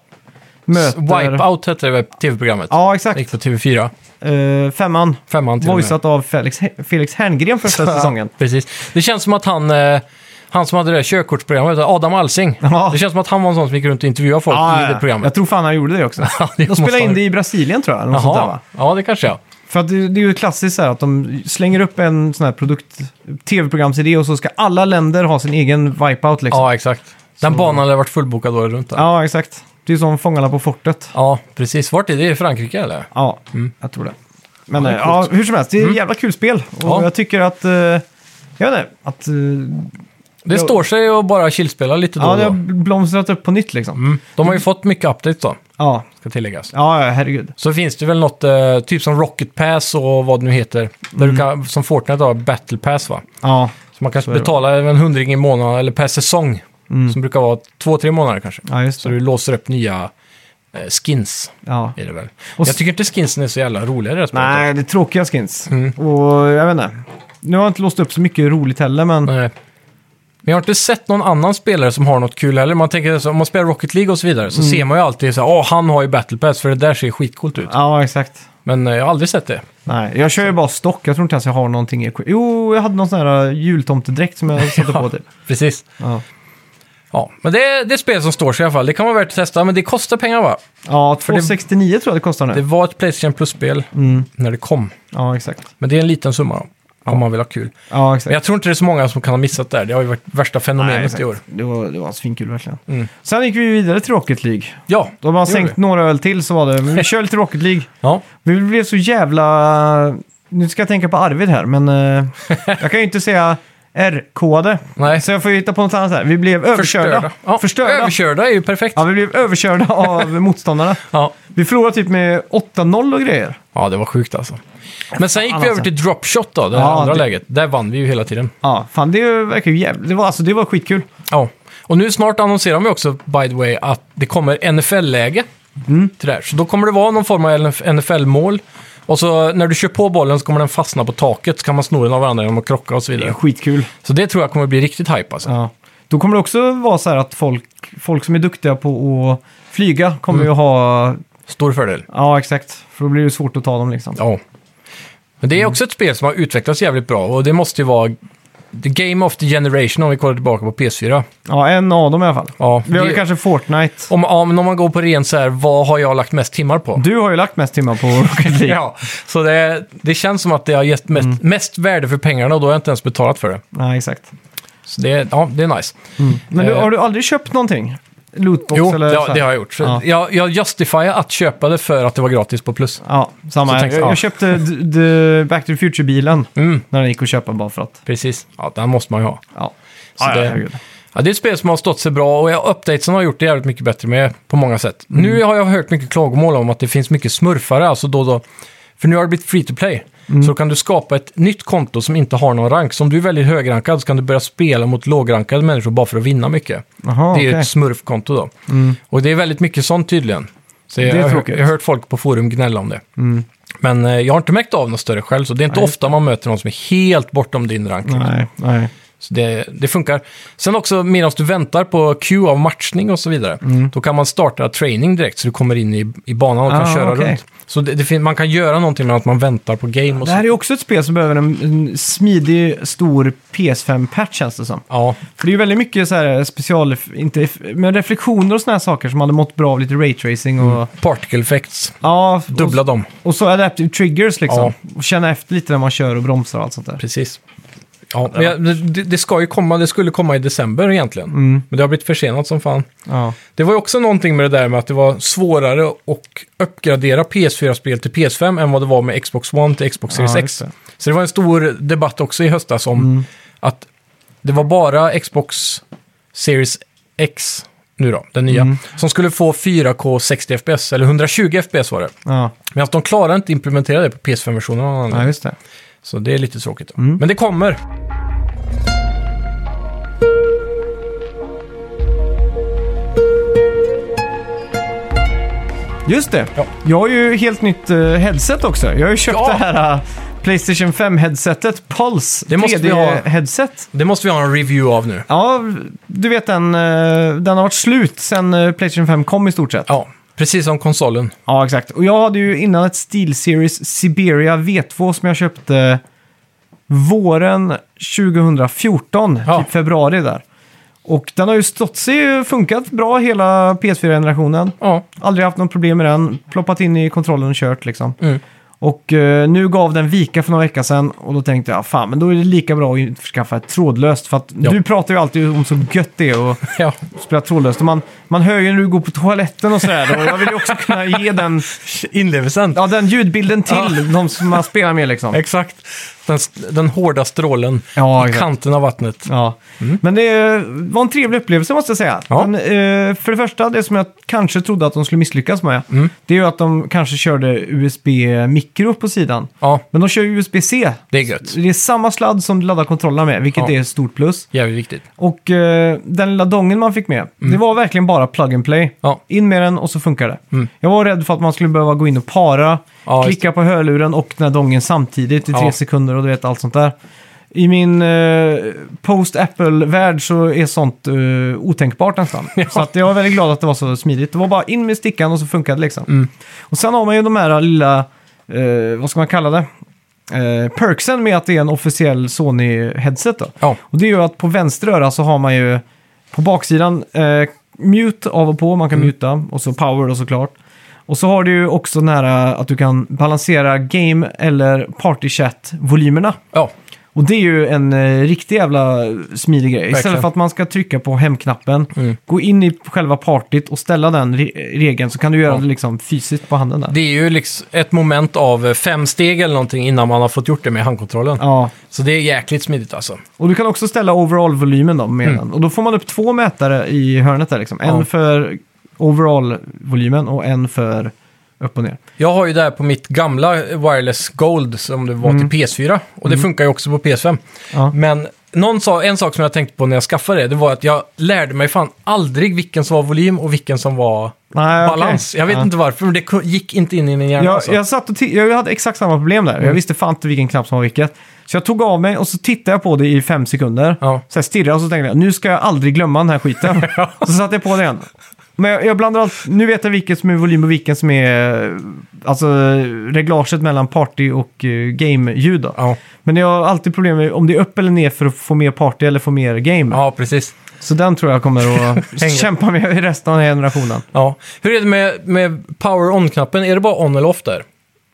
Speaker 2: Möter...
Speaker 1: Wipeout hette det väl, tv-programmet.
Speaker 2: Ja,
Speaker 1: Det gick
Speaker 2: exakt.
Speaker 1: på TV4.
Speaker 2: Eh, femman.
Speaker 1: Femman till och med.
Speaker 2: Voicat av Felix, Felix Herngren första säsongen.
Speaker 1: Precis. Det känns som att han, eh, han som hade det där körkortsprogrammet, Adam Alsing.
Speaker 2: Ja.
Speaker 1: Det känns som att han var en sån som gick runt och intervjuade folk
Speaker 2: Ja,
Speaker 1: i
Speaker 2: ja.
Speaker 1: det programmet.
Speaker 2: Jag tror fan han gjorde det också.
Speaker 1: Ja, det
Speaker 2: De
Speaker 1: måste
Speaker 2: spelade in
Speaker 1: han-
Speaker 2: det i Brasilien tror jag. eller något Sånt där, va?
Speaker 1: Jaha, ja det kanske jag.
Speaker 2: För att det, det är ju klassiskt så här att de slänger upp en sån här produkt, tv-programsidé och så ska alla länder ha sin egen wipeout liksom.
Speaker 1: Ja, exakt. Den banan hade varit fullbokad året runt. där.
Speaker 2: Ja, exakt. Det är ju som Fångarna på fortet.
Speaker 1: ja, precis. Vart är det? Är det Frankrike eller?
Speaker 2: Ja, jag tror det. Men eh, Mm. ja, hur som helst, det är ett jävla kul spel. Och
Speaker 1: Ja.
Speaker 2: jag tycker att... eh, Jag vet inte, att... eh,
Speaker 1: Det
Speaker 2: Jo.
Speaker 1: står sig och bara chillspelar lite då
Speaker 2: Ja,
Speaker 1: och
Speaker 2: det
Speaker 1: då.
Speaker 2: har blomstrat upp på nytt liksom.
Speaker 1: Mm. De har ju fått mycket updates då,
Speaker 2: Ja.
Speaker 1: ska tilläggas.
Speaker 2: ja, ja, herregud.
Speaker 1: Så finns det väl något, eh, typ som Rocket Pass och vad det nu heter, där du kan, som Fortnite har, Battle Pass va?
Speaker 2: Ja,
Speaker 1: Så
Speaker 2: Mm.
Speaker 1: man
Speaker 2: Så
Speaker 1: kanske
Speaker 2: är det. Mm.
Speaker 1: betalar en hundring i månaden, eller per säsong, som brukar vara två, tre månader kanske.
Speaker 2: ja just
Speaker 1: Så
Speaker 2: det.
Speaker 1: du låser upp nya eh, skins,
Speaker 2: Ja.
Speaker 1: är det väl.
Speaker 2: Och
Speaker 1: jag
Speaker 2: s-
Speaker 1: tycker inte skinsen är så jävla roliga i det här spelet.
Speaker 2: Nej, det är tråkiga skins. Och jag vet inte. Nu har jag inte låst upp så mycket roligt heller, men...
Speaker 1: Nej. Men jag har inte sett någon annan spelare som har något kul heller. Man tänker, så, om man spelar Rocket League och så vidare,
Speaker 2: Mm.
Speaker 1: så ser man ju alltid så här, åh, han har ju Battle Pass, för det där ser skitcoolt ut.
Speaker 2: Ja, exakt.
Speaker 1: Men eh, jag har aldrig sett det.
Speaker 2: Nej, jag kör ju bara stock. Jag tror inte ens jag har någonting i... Jo, jag hade någon sån här äh, jultomtedräkt som jag satte på typ.
Speaker 1: Precis.
Speaker 2: Ja,
Speaker 1: Ja, men det är, det är ett spel som står sig i alla fall. Det kan vara värt att testa, men det kostar pengar va?
Speaker 2: ja
Speaker 1: det-
Speaker 2: 269 tror jag det kostar nu.
Speaker 1: Det var ett Playstation Plus-spel
Speaker 2: Mm.
Speaker 1: när det kom.
Speaker 2: Ja, exakt.
Speaker 1: Men det är en liten summa då, om man vill ha kul.
Speaker 2: Ja,
Speaker 1: Men
Speaker 2: exakt.
Speaker 1: jag tror inte det är så många som kan ha missat det här. Det har ju varit värsta fenomenet i år.
Speaker 2: Det var, det var svinkul verkligen.
Speaker 1: Mm.
Speaker 2: Sen gick vi vidare till Rocket League.
Speaker 1: Ja,
Speaker 2: De har
Speaker 1: det gjorde
Speaker 2: sänkt
Speaker 1: vi.
Speaker 2: några öl till så var det, men vi kör lite Rocket League.
Speaker 1: Ja,
Speaker 2: Vi blev så jävla... Nu ska jag tänka på Arvid här, men eh, jag kan ju inte säga R-kode.
Speaker 1: nej.
Speaker 2: Så jag får ju hitta på något annat här. Vi blev överkörda.
Speaker 1: Ja,
Speaker 2: Förstörda.
Speaker 1: Överkörda är ju perfekt.
Speaker 2: Ja, vi blev överkörda av motståndarna.
Speaker 1: Ja.
Speaker 2: Vi förlorade typ med 8-0 och grejer.
Speaker 1: Ja, det var sjukt alltså. Men sen gick
Speaker 2: Fan,
Speaker 1: vi över
Speaker 2: alltså.
Speaker 1: till dropshot då, det här
Speaker 2: Ja,
Speaker 1: andra
Speaker 2: det-
Speaker 1: läget. Där vann vi ju hela tiden.
Speaker 2: Ja, fan det verkar ju jävligt... Det var, alltså, det var skitkul.
Speaker 1: Ja. Och nu snart annonserar de ju också, by the way, att det kommer NFL-läge till det här. Så då kommer det vara någon form av NFL-mål. Och så när du kör på bollen så kommer den fastna på taket, så kan man sno den av varandra genom att krocka och så
Speaker 2: Det är
Speaker 1: vidare.
Speaker 2: skitkul.
Speaker 1: Så det tror jag kommer bli riktigt hype alltså.
Speaker 2: Ja. Då kommer det också vara så här att folk, folk som är duktiga på att flyga kommer
Speaker 1: Mm.
Speaker 2: ju ha...
Speaker 1: Stor fördel.
Speaker 2: Ja, exakt. För då blir det svårt att ta dem liksom.
Speaker 1: Ja. Men
Speaker 2: Mm.
Speaker 1: det är också ett spel som har utvecklats jävligt bra och det måste ju vara the game of the generation om vi kollar tillbaka på PS4.
Speaker 2: Ja, en av dem i alla fall.
Speaker 1: Ja,
Speaker 2: Vi har
Speaker 1: det-
Speaker 2: ju kanske Fortnite.
Speaker 1: Om, om, om man går på ren så här, vad har jag lagt mest timmar på?
Speaker 2: Du har ju lagt mest timmar på Rocket League.
Speaker 1: Ja, så det, det känns som att det har gett mest,
Speaker 2: Mm.
Speaker 1: mest värde för pengarna och då har jag inte ens betalat för det.
Speaker 2: Ja, exakt.
Speaker 1: Så det, ja, det är nice.
Speaker 2: Men du,
Speaker 1: Eh.
Speaker 2: har du aldrig köpt någonting? Lootbox
Speaker 1: jo,
Speaker 2: eller
Speaker 1: det,
Speaker 2: så här?
Speaker 1: det har jag gjort. Så
Speaker 2: Ja.
Speaker 1: Jag, jag justifierar att köpa det för att det var gratis på plus.
Speaker 2: Ja, samma.
Speaker 1: Så
Speaker 2: här.
Speaker 1: tänkte jag,
Speaker 2: jag,
Speaker 1: ja.
Speaker 2: köpte d- d- Back to the Future-bilen
Speaker 1: Mm,
Speaker 2: när den gick att köpa bara för att.
Speaker 1: precis. Ja, den måste man ju ha.
Speaker 2: Ja.
Speaker 1: Så
Speaker 2: Ja, ja,
Speaker 1: det-
Speaker 2: herregud.
Speaker 1: Ja, det är ett spel som har stått sig bra och jag- updatesen har gjort det jävligt mycket bättre med på många sätt. Nu
Speaker 2: Mm.
Speaker 1: har jag hört mycket klagomål om att det finns mycket smurfare, alltså då och då. För nu har det blivit free to play.
Speaker 2: Mm.
Speaker 1: Så då kan du skapa ett nytt konto som inte har någon rank. Så om du är väldigt högrankad så kan du börja spela mot lågrankade människor bara för att vinna mycket.
Speaker 2: Jaha,
Speaker 1: det är ju
Speaker 2: okej. Mm.
Speaker 1: ett smurfkonto då. Och det är väldigt mycket sånt tydligen. Så jag,
Speaker 2: är
Speaker 1: jag, har hört-
Speaker 2: tråkigt. Mm.
Speaker 1: jag har hört folk på forum gnälla om det. Men eh, jag har inte märkt av något större själv, så det är inte ofta man möter någon som är helt bortom din rank.
Speaker 2: Nej, nej.
Speaker 1: Så det, det funkar. Sen också medan du väntar på queue av matchning och så vidare.
Speaker 2: Mm.
Speaker 1: Då kan man starta training direkt så du kommer in i, i banan och kan
Speaker 2: Ah,
Speaker 1: köra
Speaker 2: okej.
Speaker 1: runt. Så det, det fin- man kan göra någonting medan man väntar på game och
Speaker 2: Det här är
Speaker 1: så.
Speaker 2: ju också ett spel som behöver en, en smidig, stor PS5-patch känns det som.
Speaker 1: Ja,
Speaker 2: För det är ju väldigt mycket så här special, inte, men reflektioner och såna här saker som hade mått bra av lite raytracing och...
Speaker 1: particle effects.
Speaker 2: Ja, och-
Speaker 1: Mm. Dubbla dem,
Speaker 2: Och så adaptive triggers liksom. Och känna efter lite när man kör och bromsar och allt sånt där.
Speaker 1: precis. Ja, men jag, det, det ska ju komma, det skulle komma i december egentligen.
Speaker 2: Mm.
Speaker 1: Men det har blivit försenat som fan.
Speaker 2: Ja,
Speaker 1: Det var ju också någonting med det där med att det var svårare att uppgradera PS4-spel till PS5 än vad det var med Xbox One till Xbox Series
Speaker 2: Ja,
Speaker 1: X.
Speaker 2: just det.
Speaker 1: Så det var en stor debatt också i höstas om
Speaker 2: Mm.
Speaker 1: att det var bara Xbox Series X, nu då, den nya,
Speaker 2: Mm.
Speaker 1: som skulle få 4K 60 FPS, eller 120 FPS var det.
Speaker 2: ja.
Speaker 1: Men att de klarar inte implementera det på PS5-versionen av någon anledning.
Speaker 2: ja just det.
Speaker 1: Så det är lite tråkigt. Då.
Speaker 2: Mm.
Speaker 1: Men det kommer.
Speaker 2: Just det.
Speaker 1: Ja.
Speaker 2: Jag har ju helt nytt eh, headset också. Jag har ju köpt
Speaker 1: Ja.
Speaker 2: det här eh, Playstation 5-headsetet Pulse.
Speaker 1: Det måste vi ha.
Speaker 2: 3D-headset.
Speaker 1: Det måste vi ha en review av nu.
Speaker 2: Ja, du vet den, eh, den har varit slut sen eh, Playstation 5 kom i stort sett.
Speaker 1: Ja, precis som konsolen.
Speaker 2: Ja, exakt. Och jag hade ju innan ett SteelSeries Siberia V2 som jag köpte våren 2014,
Speaker 1: Ja.
Speaker 2: typ februari där. Och den har ju stått sig funkat bra hela PS4-generationen.
Speaker 1: Ja,
Speaker 2: Aldrig haft något problem med den. Ploppat in i kontrollen och kört liksom.
Speaker 1: Mm.
Speaker 2: Och eh, nu gav den vika för några veckor sedan och då tänkte jag, "Ah, fan, men då är det lika bra att införskaffa ett trådlöst. För att
Speaker 1: Ja.
Speaker 2: du pratar ju alltid om så gött det är att
Speaker 1: Ja,
Speaker 2: spela trådlöst. Och man, man hör ju när du går på toaletten och sådär. Och jag vill ju också kunna ge den,
Speaker 1: inlevelsen.
Speaker 2: ja, den ljudbilden till de som man spelar med liksom.
Speaker 1: Exakt. Den, den hårda strålen
Speaker 2: Ja,
Speaker 1: i
Speaker 2: exakt.
Speaker 1: kanten av vattnet.
Speaker 2: Ja, men det var en trevlig upplevelse måste jag säga.
Speaker 1: Mm. Ja.
Speaker 2: Men, eh, för det första, det som jag kanske trodde att de skulle misslyckas med,
Speaker 1: Mm.
Speaker 2: det är ju att de kanske körde USB-mikro på sidan.
Speaker 1: Ja,
Speaker 2: Men de kör ju USB-C.
Speaker 1: det är gött.
Speaker 2: Det är samma sladd som du laddar kontrollerna med, vilket
Speaker 1: Ja.
Speaker 2: är ett stort plus.
Speaker 1: Jävligt viktigt.
Speaker 2: Och eh, den lilla dongen man fick med, det var verkligen bara plug and play.
Speaker 1: Mm. Ja. Mm.
Speaker 2: In med den och så funkar det. Jag var rädd för att man skulle behöva gå in och para,
Speaker 1: Ja, just
Speaker 2: klicka på hörluren och den här dongen samtidigt i
Speaker 1: Ja.
Speaker 2: tre sekunder och du vet allt sånt där. I min eh, post-Apple-värld så är sånt eh, otänkbart nästan. Så att jag var väldigt glad att det var så smidigt. Det var bara in med stickan och så funkade det liksom.
Speaker 1: Mm.
Speaker 2: Och sen har man ju de här lilla, eh, vad ska man kalla det? Eh, perksen med att det är en officiell Sony-headset då.
Speaker 1: Ja,
Speaker 2: Och det är ju att på vänster öra så har man ju på baksidan eh, mute av och på, man
Speaker 1: Mm.
Speaker 2: kan muta och så power då såklart. Och så har du ju också den här eh, att du kan balansera game eller party chat volymerna.
Speaker 1: ja,
Speaker 2: Och det är ju en eh, riktig jävla smidig grej. Istället
Speaker 1: Verkligen.
Speaker 2: för att man ska trycka på hemknappen,
Speaker 1: Mm.
Speaker 2: gå in i själva partyt och ställa den re regeln så kan du göra
Speaker 1: Ja.
Speaker 2: det liksom fysiskt på handen där.
Speaker 1: det är ju liksom ett moment av eh, fem steg eller någonting innan man har fått gjort det med handkontrollen.
Speaker 2: Ja,
Speaker 1: Så det är jäkligt smidigt alltså.
Speaker 2: och du kan också ställa overall-volymen då med den. Och då får man upp två mätare i hörnet där liksom. En
Speaker 1: Mm. Ja.
Speaker 2: för overall-volymen och en för upp och ner.
Speaker 1: Jag har ju det här på mitt gamla Wireless Gold som det var
Speaker 2: Mm.
Speaker 1: till PS4. Och det funkar ju också på PS5.
Speaker 2: Ja.
Speaker 1: Men någon sa, en sak som jag tänkte på när jag skaffade det, det var att jag lärde mig fan aldrig vilken som var volym och vilken som var
Speaker 2: Nej, okej.
Speaker 1: balans. Jag vet
Speaker 2: Ja.
Speaker 1: inte varför, men det ku- gick inte in i min hjärna.
Speaker 2: Jag,
Speaker 1: alltså. Mm.
Speaker 2: jag, satt och ti- jag hade exakt samma problem där. Jag visste fan inte vilken knapp som var vilket. Så jag tog av mig och så tittade jag på det i fem sekunder.
Speaker 1: Ja.
Speaker 2: Så jag stirrade och så tänkte jag, nu ska jag aldrig glömma den här skiten. Så satte jag på det igen. Men jag, jag blandar allt. Nu vet jag vilken som är volym och vilken som är eh, alltså, reglaget mellan party och eh, game-ljud. då.
Speaker 1: Ja.
Speaker 2: Men jag har alltid problem med om det är upp eller ner för att få mer party eller få mer game.
Speaker 1: ja, precis.
Speaker 2: Så den tror jag kommer att kämpa med i resten av generationen.
Speaker 1: Ja. Hur är det med, med power on-knappen? Är det bara on eller off där?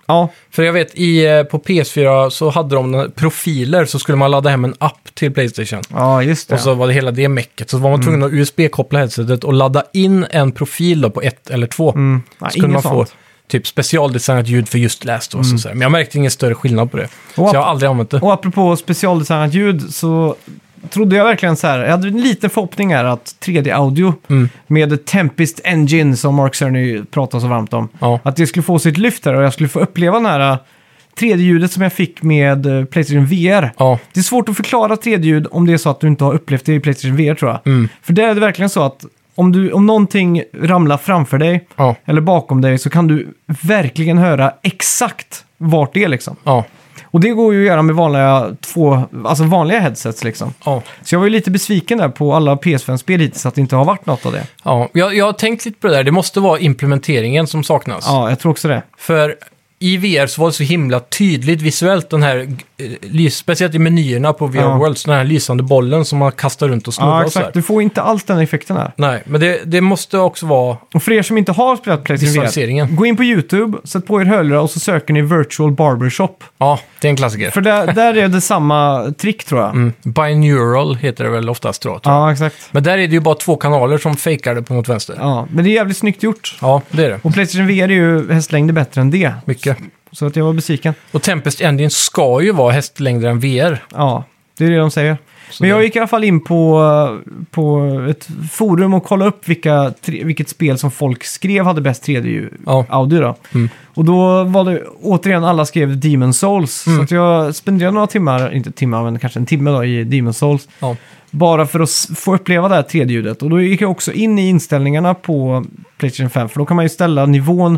Speaker 2: Ja,
Speaker 1: För jag vet, i, eh, på PS4 så hade de den här profiler, så skulle man ladda hem en app till Playstation.
Speaker 2: ja Mm. just det.
Speaker 1: Och så var det hela det mecket. Så var man tvungen att USB-koppla headsetet och ladda in en profil då på ett eller två.
Speaker 2: Mm. Nej,
Speaker 1: Så kunde man
Speaker 2: inget
Speaker 1: få
Speaker 2: sånt. Mm.
Speaker 1: typ specialdesignat ljud för just läst. Och så Men jag märkte ingen större skillnad på det. så jag har aldrig använt det.
Speaker 2: Och apropå specialdesignat ljud så trodde jag verkligen så här. Jag hade en liten förhoppning här att 3D-audio
Speaker 1: Mm.
Speaker 2: med Tempest Engine som Mark Cerny pratar så varmt om.
Speaker 1: Ja.
Speaker 2: Att det skulle få sitt lyft här och jag skulle få uppleva den här 3D-ljudet som jag fick med eh, Playstation VR.
Speaker 1: Ja.
Speaker 2: Det är svårt att förklara 3D-ljud om det är så att du inte har upplevt det i Playstation VR tror jag.
Speaker 1: Mm.
Speaker 2: För där är det verkligen så att om, du, om någonting ramlar framför dig
Speaker 1: Ja.
Speaker 2: eller bakom dig så kan du verkligen höra exakt vart det är liksom.
Speaker 1: Ja.
Speaker 2: Och det går ju att göra med vanliga, två, alltså vanliga headsets liksom.
Speaker 1: Ja.
Speaker 2: Så jag var ju lite besviken där på alla PS5-spel hittills att det inte har varit något av det.
Speaker 1: ja. Jag, jag har tänkt lite på det där. Det måste vara implementeringen som saknas.
Speaker 2: Ja, jag tror också det.
Speaker 1: För i VR så var det så himla tydligt visuellt den här, eh, lys, speciellt i menyerna på VR
Speaker 2: Ja.
Speaker 1: Worlds, den här lysande bollen som man kastar runt och snurrar
Speaker 2: Ja,
Speaker 1: och så här.
Speaker 2: exakt. Du får inte alls den effekten här.
Speaker 1: Nej, men det, det måste också vara
Speaker 2: Och för er som inte har spelat Playstation VR,
Speaker 1: Visualiseringen.
Speaker 2: gå in på YouTube, sätt på er hörlurar och så söker ni Virtual Barbershop.
Speaker 1: Ja, det är en klassiker.
Speaker 2: För där, där är det samma trick tror jag.
Speaker 1: Mm. Binaural heter det väl oftast då, tror jag.
Speaker 2: Ja, exakt.
Speaker 1: Men där är det ju bara två kanaler som fejkar det på något vänster. Ja.
Speaker 2: Ja, men det är jävligt snyggt gjort.
Speaker 1: det är det.
Speaker 2: Och Playstation VR är ju hästlängder bättre än det.
Speaker 1: Mycket.
Speaker 2: Så att jag var besviken.
Speaker 1: Och Tempest Engine ska ju vara hästlängder än VR.
Speaker 2: Ja, det är det de säger.
Speaker 1: Så
Speaker 2: Men jag
Speaker 1: det-
Speaker 2: gick i alla fall in på, på ett forum och kollade upp vilka, tre- vilket spel som folk skrev hade bäst 3D-audio.
Speaker 1: Ja, Mm.
Speaker 2: Då. Och då var det återigen alla skrev Demon Souls.
Speaker 1: Mm.
Speaker 2: Så att jag spenderade några timmar, inte timmar men kanske en timme då, i Demon Souls.
Speaker 1: ja.
Speaker 2: Bara för att s- få uppleva det här 3D-ljudet. Och då gick jag också in i inställningarna på Playstation 5. För då kan man ju ställa nivån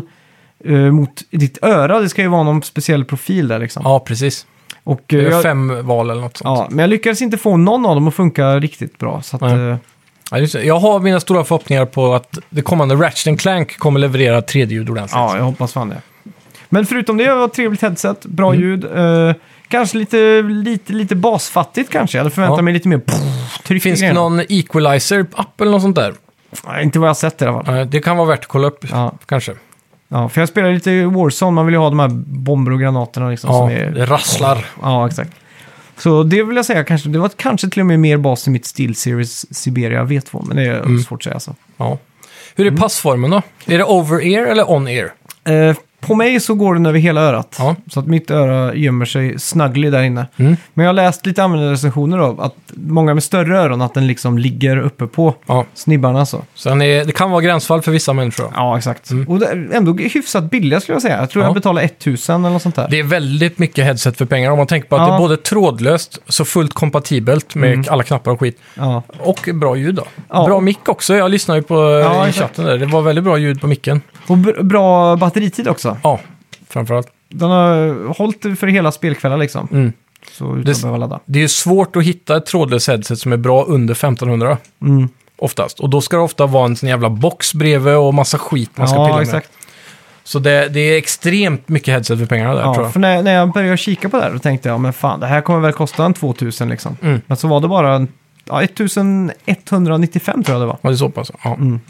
Speaker 2: eh, mot ditt öra. Det ska ju vara någon speciell profil där liksom.
Speaker 1: ja precis.
Speaker 2: Och,
Speaker 1: Det
Speaker 2: eh,
Speaker 1: är
Speaker 2: jag-
Speaker 1: fem val eller något sånt.
Speaker 2: Ja, men jag lyckades inte få någon av dem att funka riktigt bra. Så att,
Speaker 1: Nej.
Speaker 2: eh,
Speaker 1: Ja. just det. jag har mina stora förhoppningar på att det kommande Ratchet Clank kommer leverera 3D-ljud ordentligt.
Speaker 2: ja, jag hoppas fan det. Men förutom det var det ett trevligt headset, bra
Speaker 1: Mm.
Speaker 2: ljud. eh, kanske lite, lite, lite basfattigt kanske. Jag hade förväntat
Speaker 1: Ja.
Speaker 2: mig lite mer pff, tryck i
Speaker 1: Finns det
Speaker 2: grejerna.
Speaker 1: någon equalizer-app eller något sånt där? Eh,
Speaker 2: Nej, inte vad jag har sett i alla fall.
Speaker 1: Nej, Det kan vara värt att kolla upp,
Speaker 2: Ja.
Speaker 1: kanske.
Speaker 2: Ja, för jag spelar lite Warzone, man vill ju ha de här bomber och granaterna liksom.
Speaker 1: Ja,
Speaker 2: som är...
Speaker 1: det rasslar.
Speaker 2: ja exakt. Så det vill jag säga kanske, det var kanske till och med mer bas i mitt Steel Series Siberia V2, men det är
Speaker 1: Mm.
Speaker 2: svårt att säga så.
Speaker 1: Ja. Hur är
Speaker 2: Mm.
Speaker 1: passformen då? Är det over-ear eller on-ear?
Speaker 2: Eh, på mig så går den över hela örat,
Speaker 1: Ja.
Speaker 2: så att mitt öra gömmer sig snuggly där inne.
Speaker 1: Mm.
Speaker 2: Men jag har läst lite användarrecensioner av att många med större öron, att den liksom ligger uppe på
Speaker 1: Ja.
Speaker 2: snibbarna så.
Speaker 1: Sen är, det kan vara gränsfall för vissa människor.
Speaker 2: Ja, exakt. Och det är ändå hyfsat billiga skulle jag säga. Jag tror
Speaker 1: Mm. Ja.
Speaker 2: jag betalade 1000 eller något sånt där.
Speaker 1: Det är väldigt mycket headset för pengar om man tänker på att
Speaker 2: Ja.
Speaker 1: det är både trådlöst, så fullt kompatibelt med alla knappar och skit.
Speaker 2: Ja.
Speaker 1: Och bra ljud då.
Speaker 2: Ja.
Speaker 1: Bra mick också. Jag lyssnade ju på eh,
Speaker 2: Ja,
Speaker 1: i
Speaker 2: exakt.
Speaker 1: chatten där. Det var väldigt bra ljud på micken.
Speaker 2: Och br- bra batteritid också.
Speaker 1: Ja, framförallt.
Speaker 2: Den har hållit för hela spelkvällar liksom.
Speaker 1: Mm.
Speaker 2: Så utan
Speaker 1: Det-
Speaker 2: att behöva ladda.
Speaker 1: Det är ju svårt att hitta ett trådlöst headset som är bra under 1500
Speaker 2: Mm.
Speaker 1: oftast. Och då ska det ofta vara en sån jävla box bredvid och massa skit man ska pilla
Speaker 2: Ja,
Speaker 1: med.
Speaker 2: exakt.
Speaker 1: Så det, det är extremt mycket headset för pengarna där tror
Speaker 2: Ja,
Speaker 1: jag.
Speaker 2: för när, när jag började kika på det här då tänkte jag, men fan, det här kommer väl kosta en 2000 liksom.
Speaker 1: Mm.
Speaker 2: Men så var det bara en, ja, 1195 tror jag det var.
Speaker 1: Ja, det är så pass. Ja.
Speaker 2: Mm.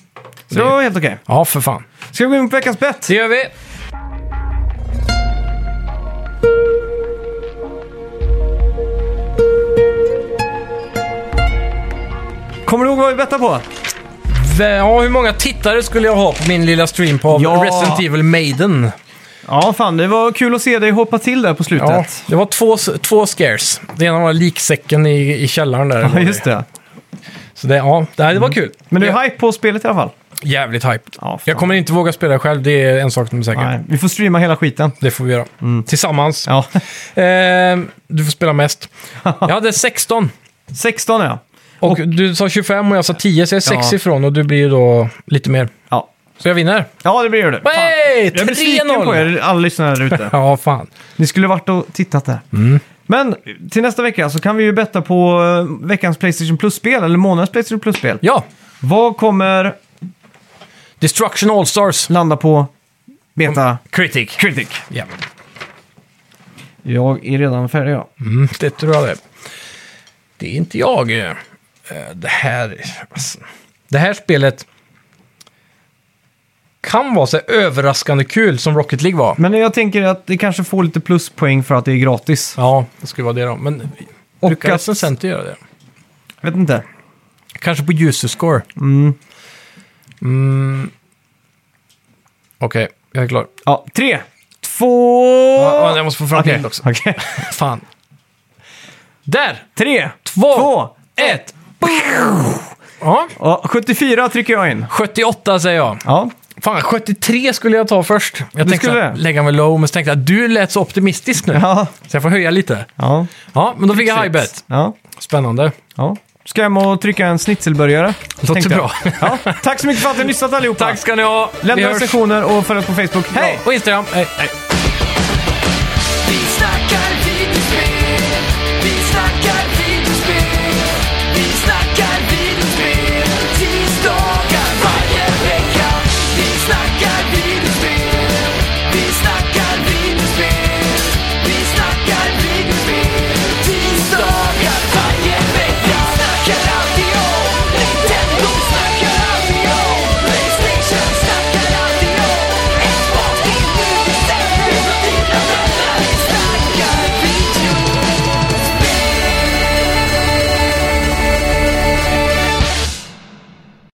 Speaker 2: Så det var helt okej.
Speaker 1: ja, för fan.
Speaker 2: Ska vi gå in på veckans bett?
Speaker 1: Det gör vi!
Speaker 2: Kommer du ihåg vad vi bettade på?
Speaker 1: Ja, hur många tittare skulle jag ha på min lilla stream på
Speaker 2: Ja.
Speaker 1: Resident Evil Maiden?
Speaker 2: Ja, fan, det var kul att se dig hoppa till där på slutet.
Speaker 1: Ja, det var två, två scares. Det ena var liksäcken i, i källaren där.
Speaker 2: Ja, just det. Mm.
Speaker 1: Så det, ja, det, här, det var kul.
Speaker 2: Men du är
Speaker 1: Ja,
Speaker 2: hype på spelet i alla fall.
Speaker 1: Jävligt hype.
Speaker 2: Ja, fan.
Speaker 1: jag kommer inte våga spela själv, det är en sak som är säker.
Speaker 2: Nej, vi får streama hela skiten.
Speaker 1: Det får vi göra. Tillsammans.
Speaker 2: Ja.
Speaker 1: Eh, du får spela mest. Jag hade 16.
Speaker 2: 16 ja.
Speaker 1: Och, du sa 25 och jag sa 10, så jag är 6
Speaker 2: Ja.
Speaker 1: ifrån och du blir ju då lite mer.
Speaker 2: Ja,
Speaker 1: Så jag vinner.
Speaker 2: ja det blir det. Fan.
Speaker 1: Hey,
Speaker 2: Jag är besviken
Speaker 1: 3-0.
Speaker 2: på er, alla lyssnare där ute.
Speaker 1: Ja, fan.
Speaker 2: Ni skulle varit och tittat där.
Speaker 1: Mm.
Speaker 2: Men till nästa vecka så kan vi ju betta på eh, veckans Playstation Plus-spel, eller månadens Playstation Plus-spel.
Speaker 1: Ja,
Speaker 2: Vad kommer
Speaker 1: Destruction All-Stars.
Speaker 2: landa på Beta
Speaker 1: Critic.
Speaker 2: Critic?
Speaker 1: Ja,
Speaker 2: Jag är redan färdig ja.
Speaker 1: mm, det tror jag det. Det är inte jag. eh. Eh, Det här... alltså, Det här spelet kan vara så här överraskande kul som Rocket League var.
Speaker 2: Men jag tänker att det kanske får lite pluspoäng för att det är gratis.
Speaker 1: Ja, det skulle vara det då. Men
Speaker 2: Och
Speaker 1: brukar
Speaker 2: att-
Speaker 1: recensenter göra det?
Speaker 2: Vet inte.
Speaker 1: Kanske på user score. Mm. Okej, jag är klar.
Speaker 2: Ja, tre, två...
Speaker 1: Ja, jag måste få fram bild också.
Speaker 2: Okej.
Speaker 1: Fan. Där!
Speaker 2: Tre,
Speaker 1: Två!
Speaker 2: två, ett.
Speaker 1: Ja.
Speaker 2: Ja, 74 trycker jag in.
Speaker 1: 78 säger jag.
Speaker 2: Ja,
Speaker 1: Fan, 73 skulle jag ta först. Jag tänkte
Speaker 2: skulle
Speaker 1: så här,
Speaker 2: det.
Speaker 1: lägga mig low, men så tänkte jag att du lät så optimistisk nu.
Speaker 2: ja,
Speaker 1: Så jag får höja lite.
Speaker 2: ja.
Speaker 1: Ja, men då fick jag high bet.
Speaker 2: Ja,
Speaker 1: Spännande.
Speaker 2: ja. Ska jag hem och trycka en schnitzelburgare?
Speaker 1: Låter
Speaker 2: tänkte jag.
Speaker 1: bra.
Speaker 2: Ja, tack så mycket för att ni har lyssnat allihopa.
Speaker 1: Tack ska ni ha. Vi
Speaker 2: Lämna
Speaker 1: hörs.
Speaker 2: recensioner och följ oss på Facebook. Hej!
Speaker 1: Ja, Och Instagram. Hej. Hej.
Speaker 3: Vi snackar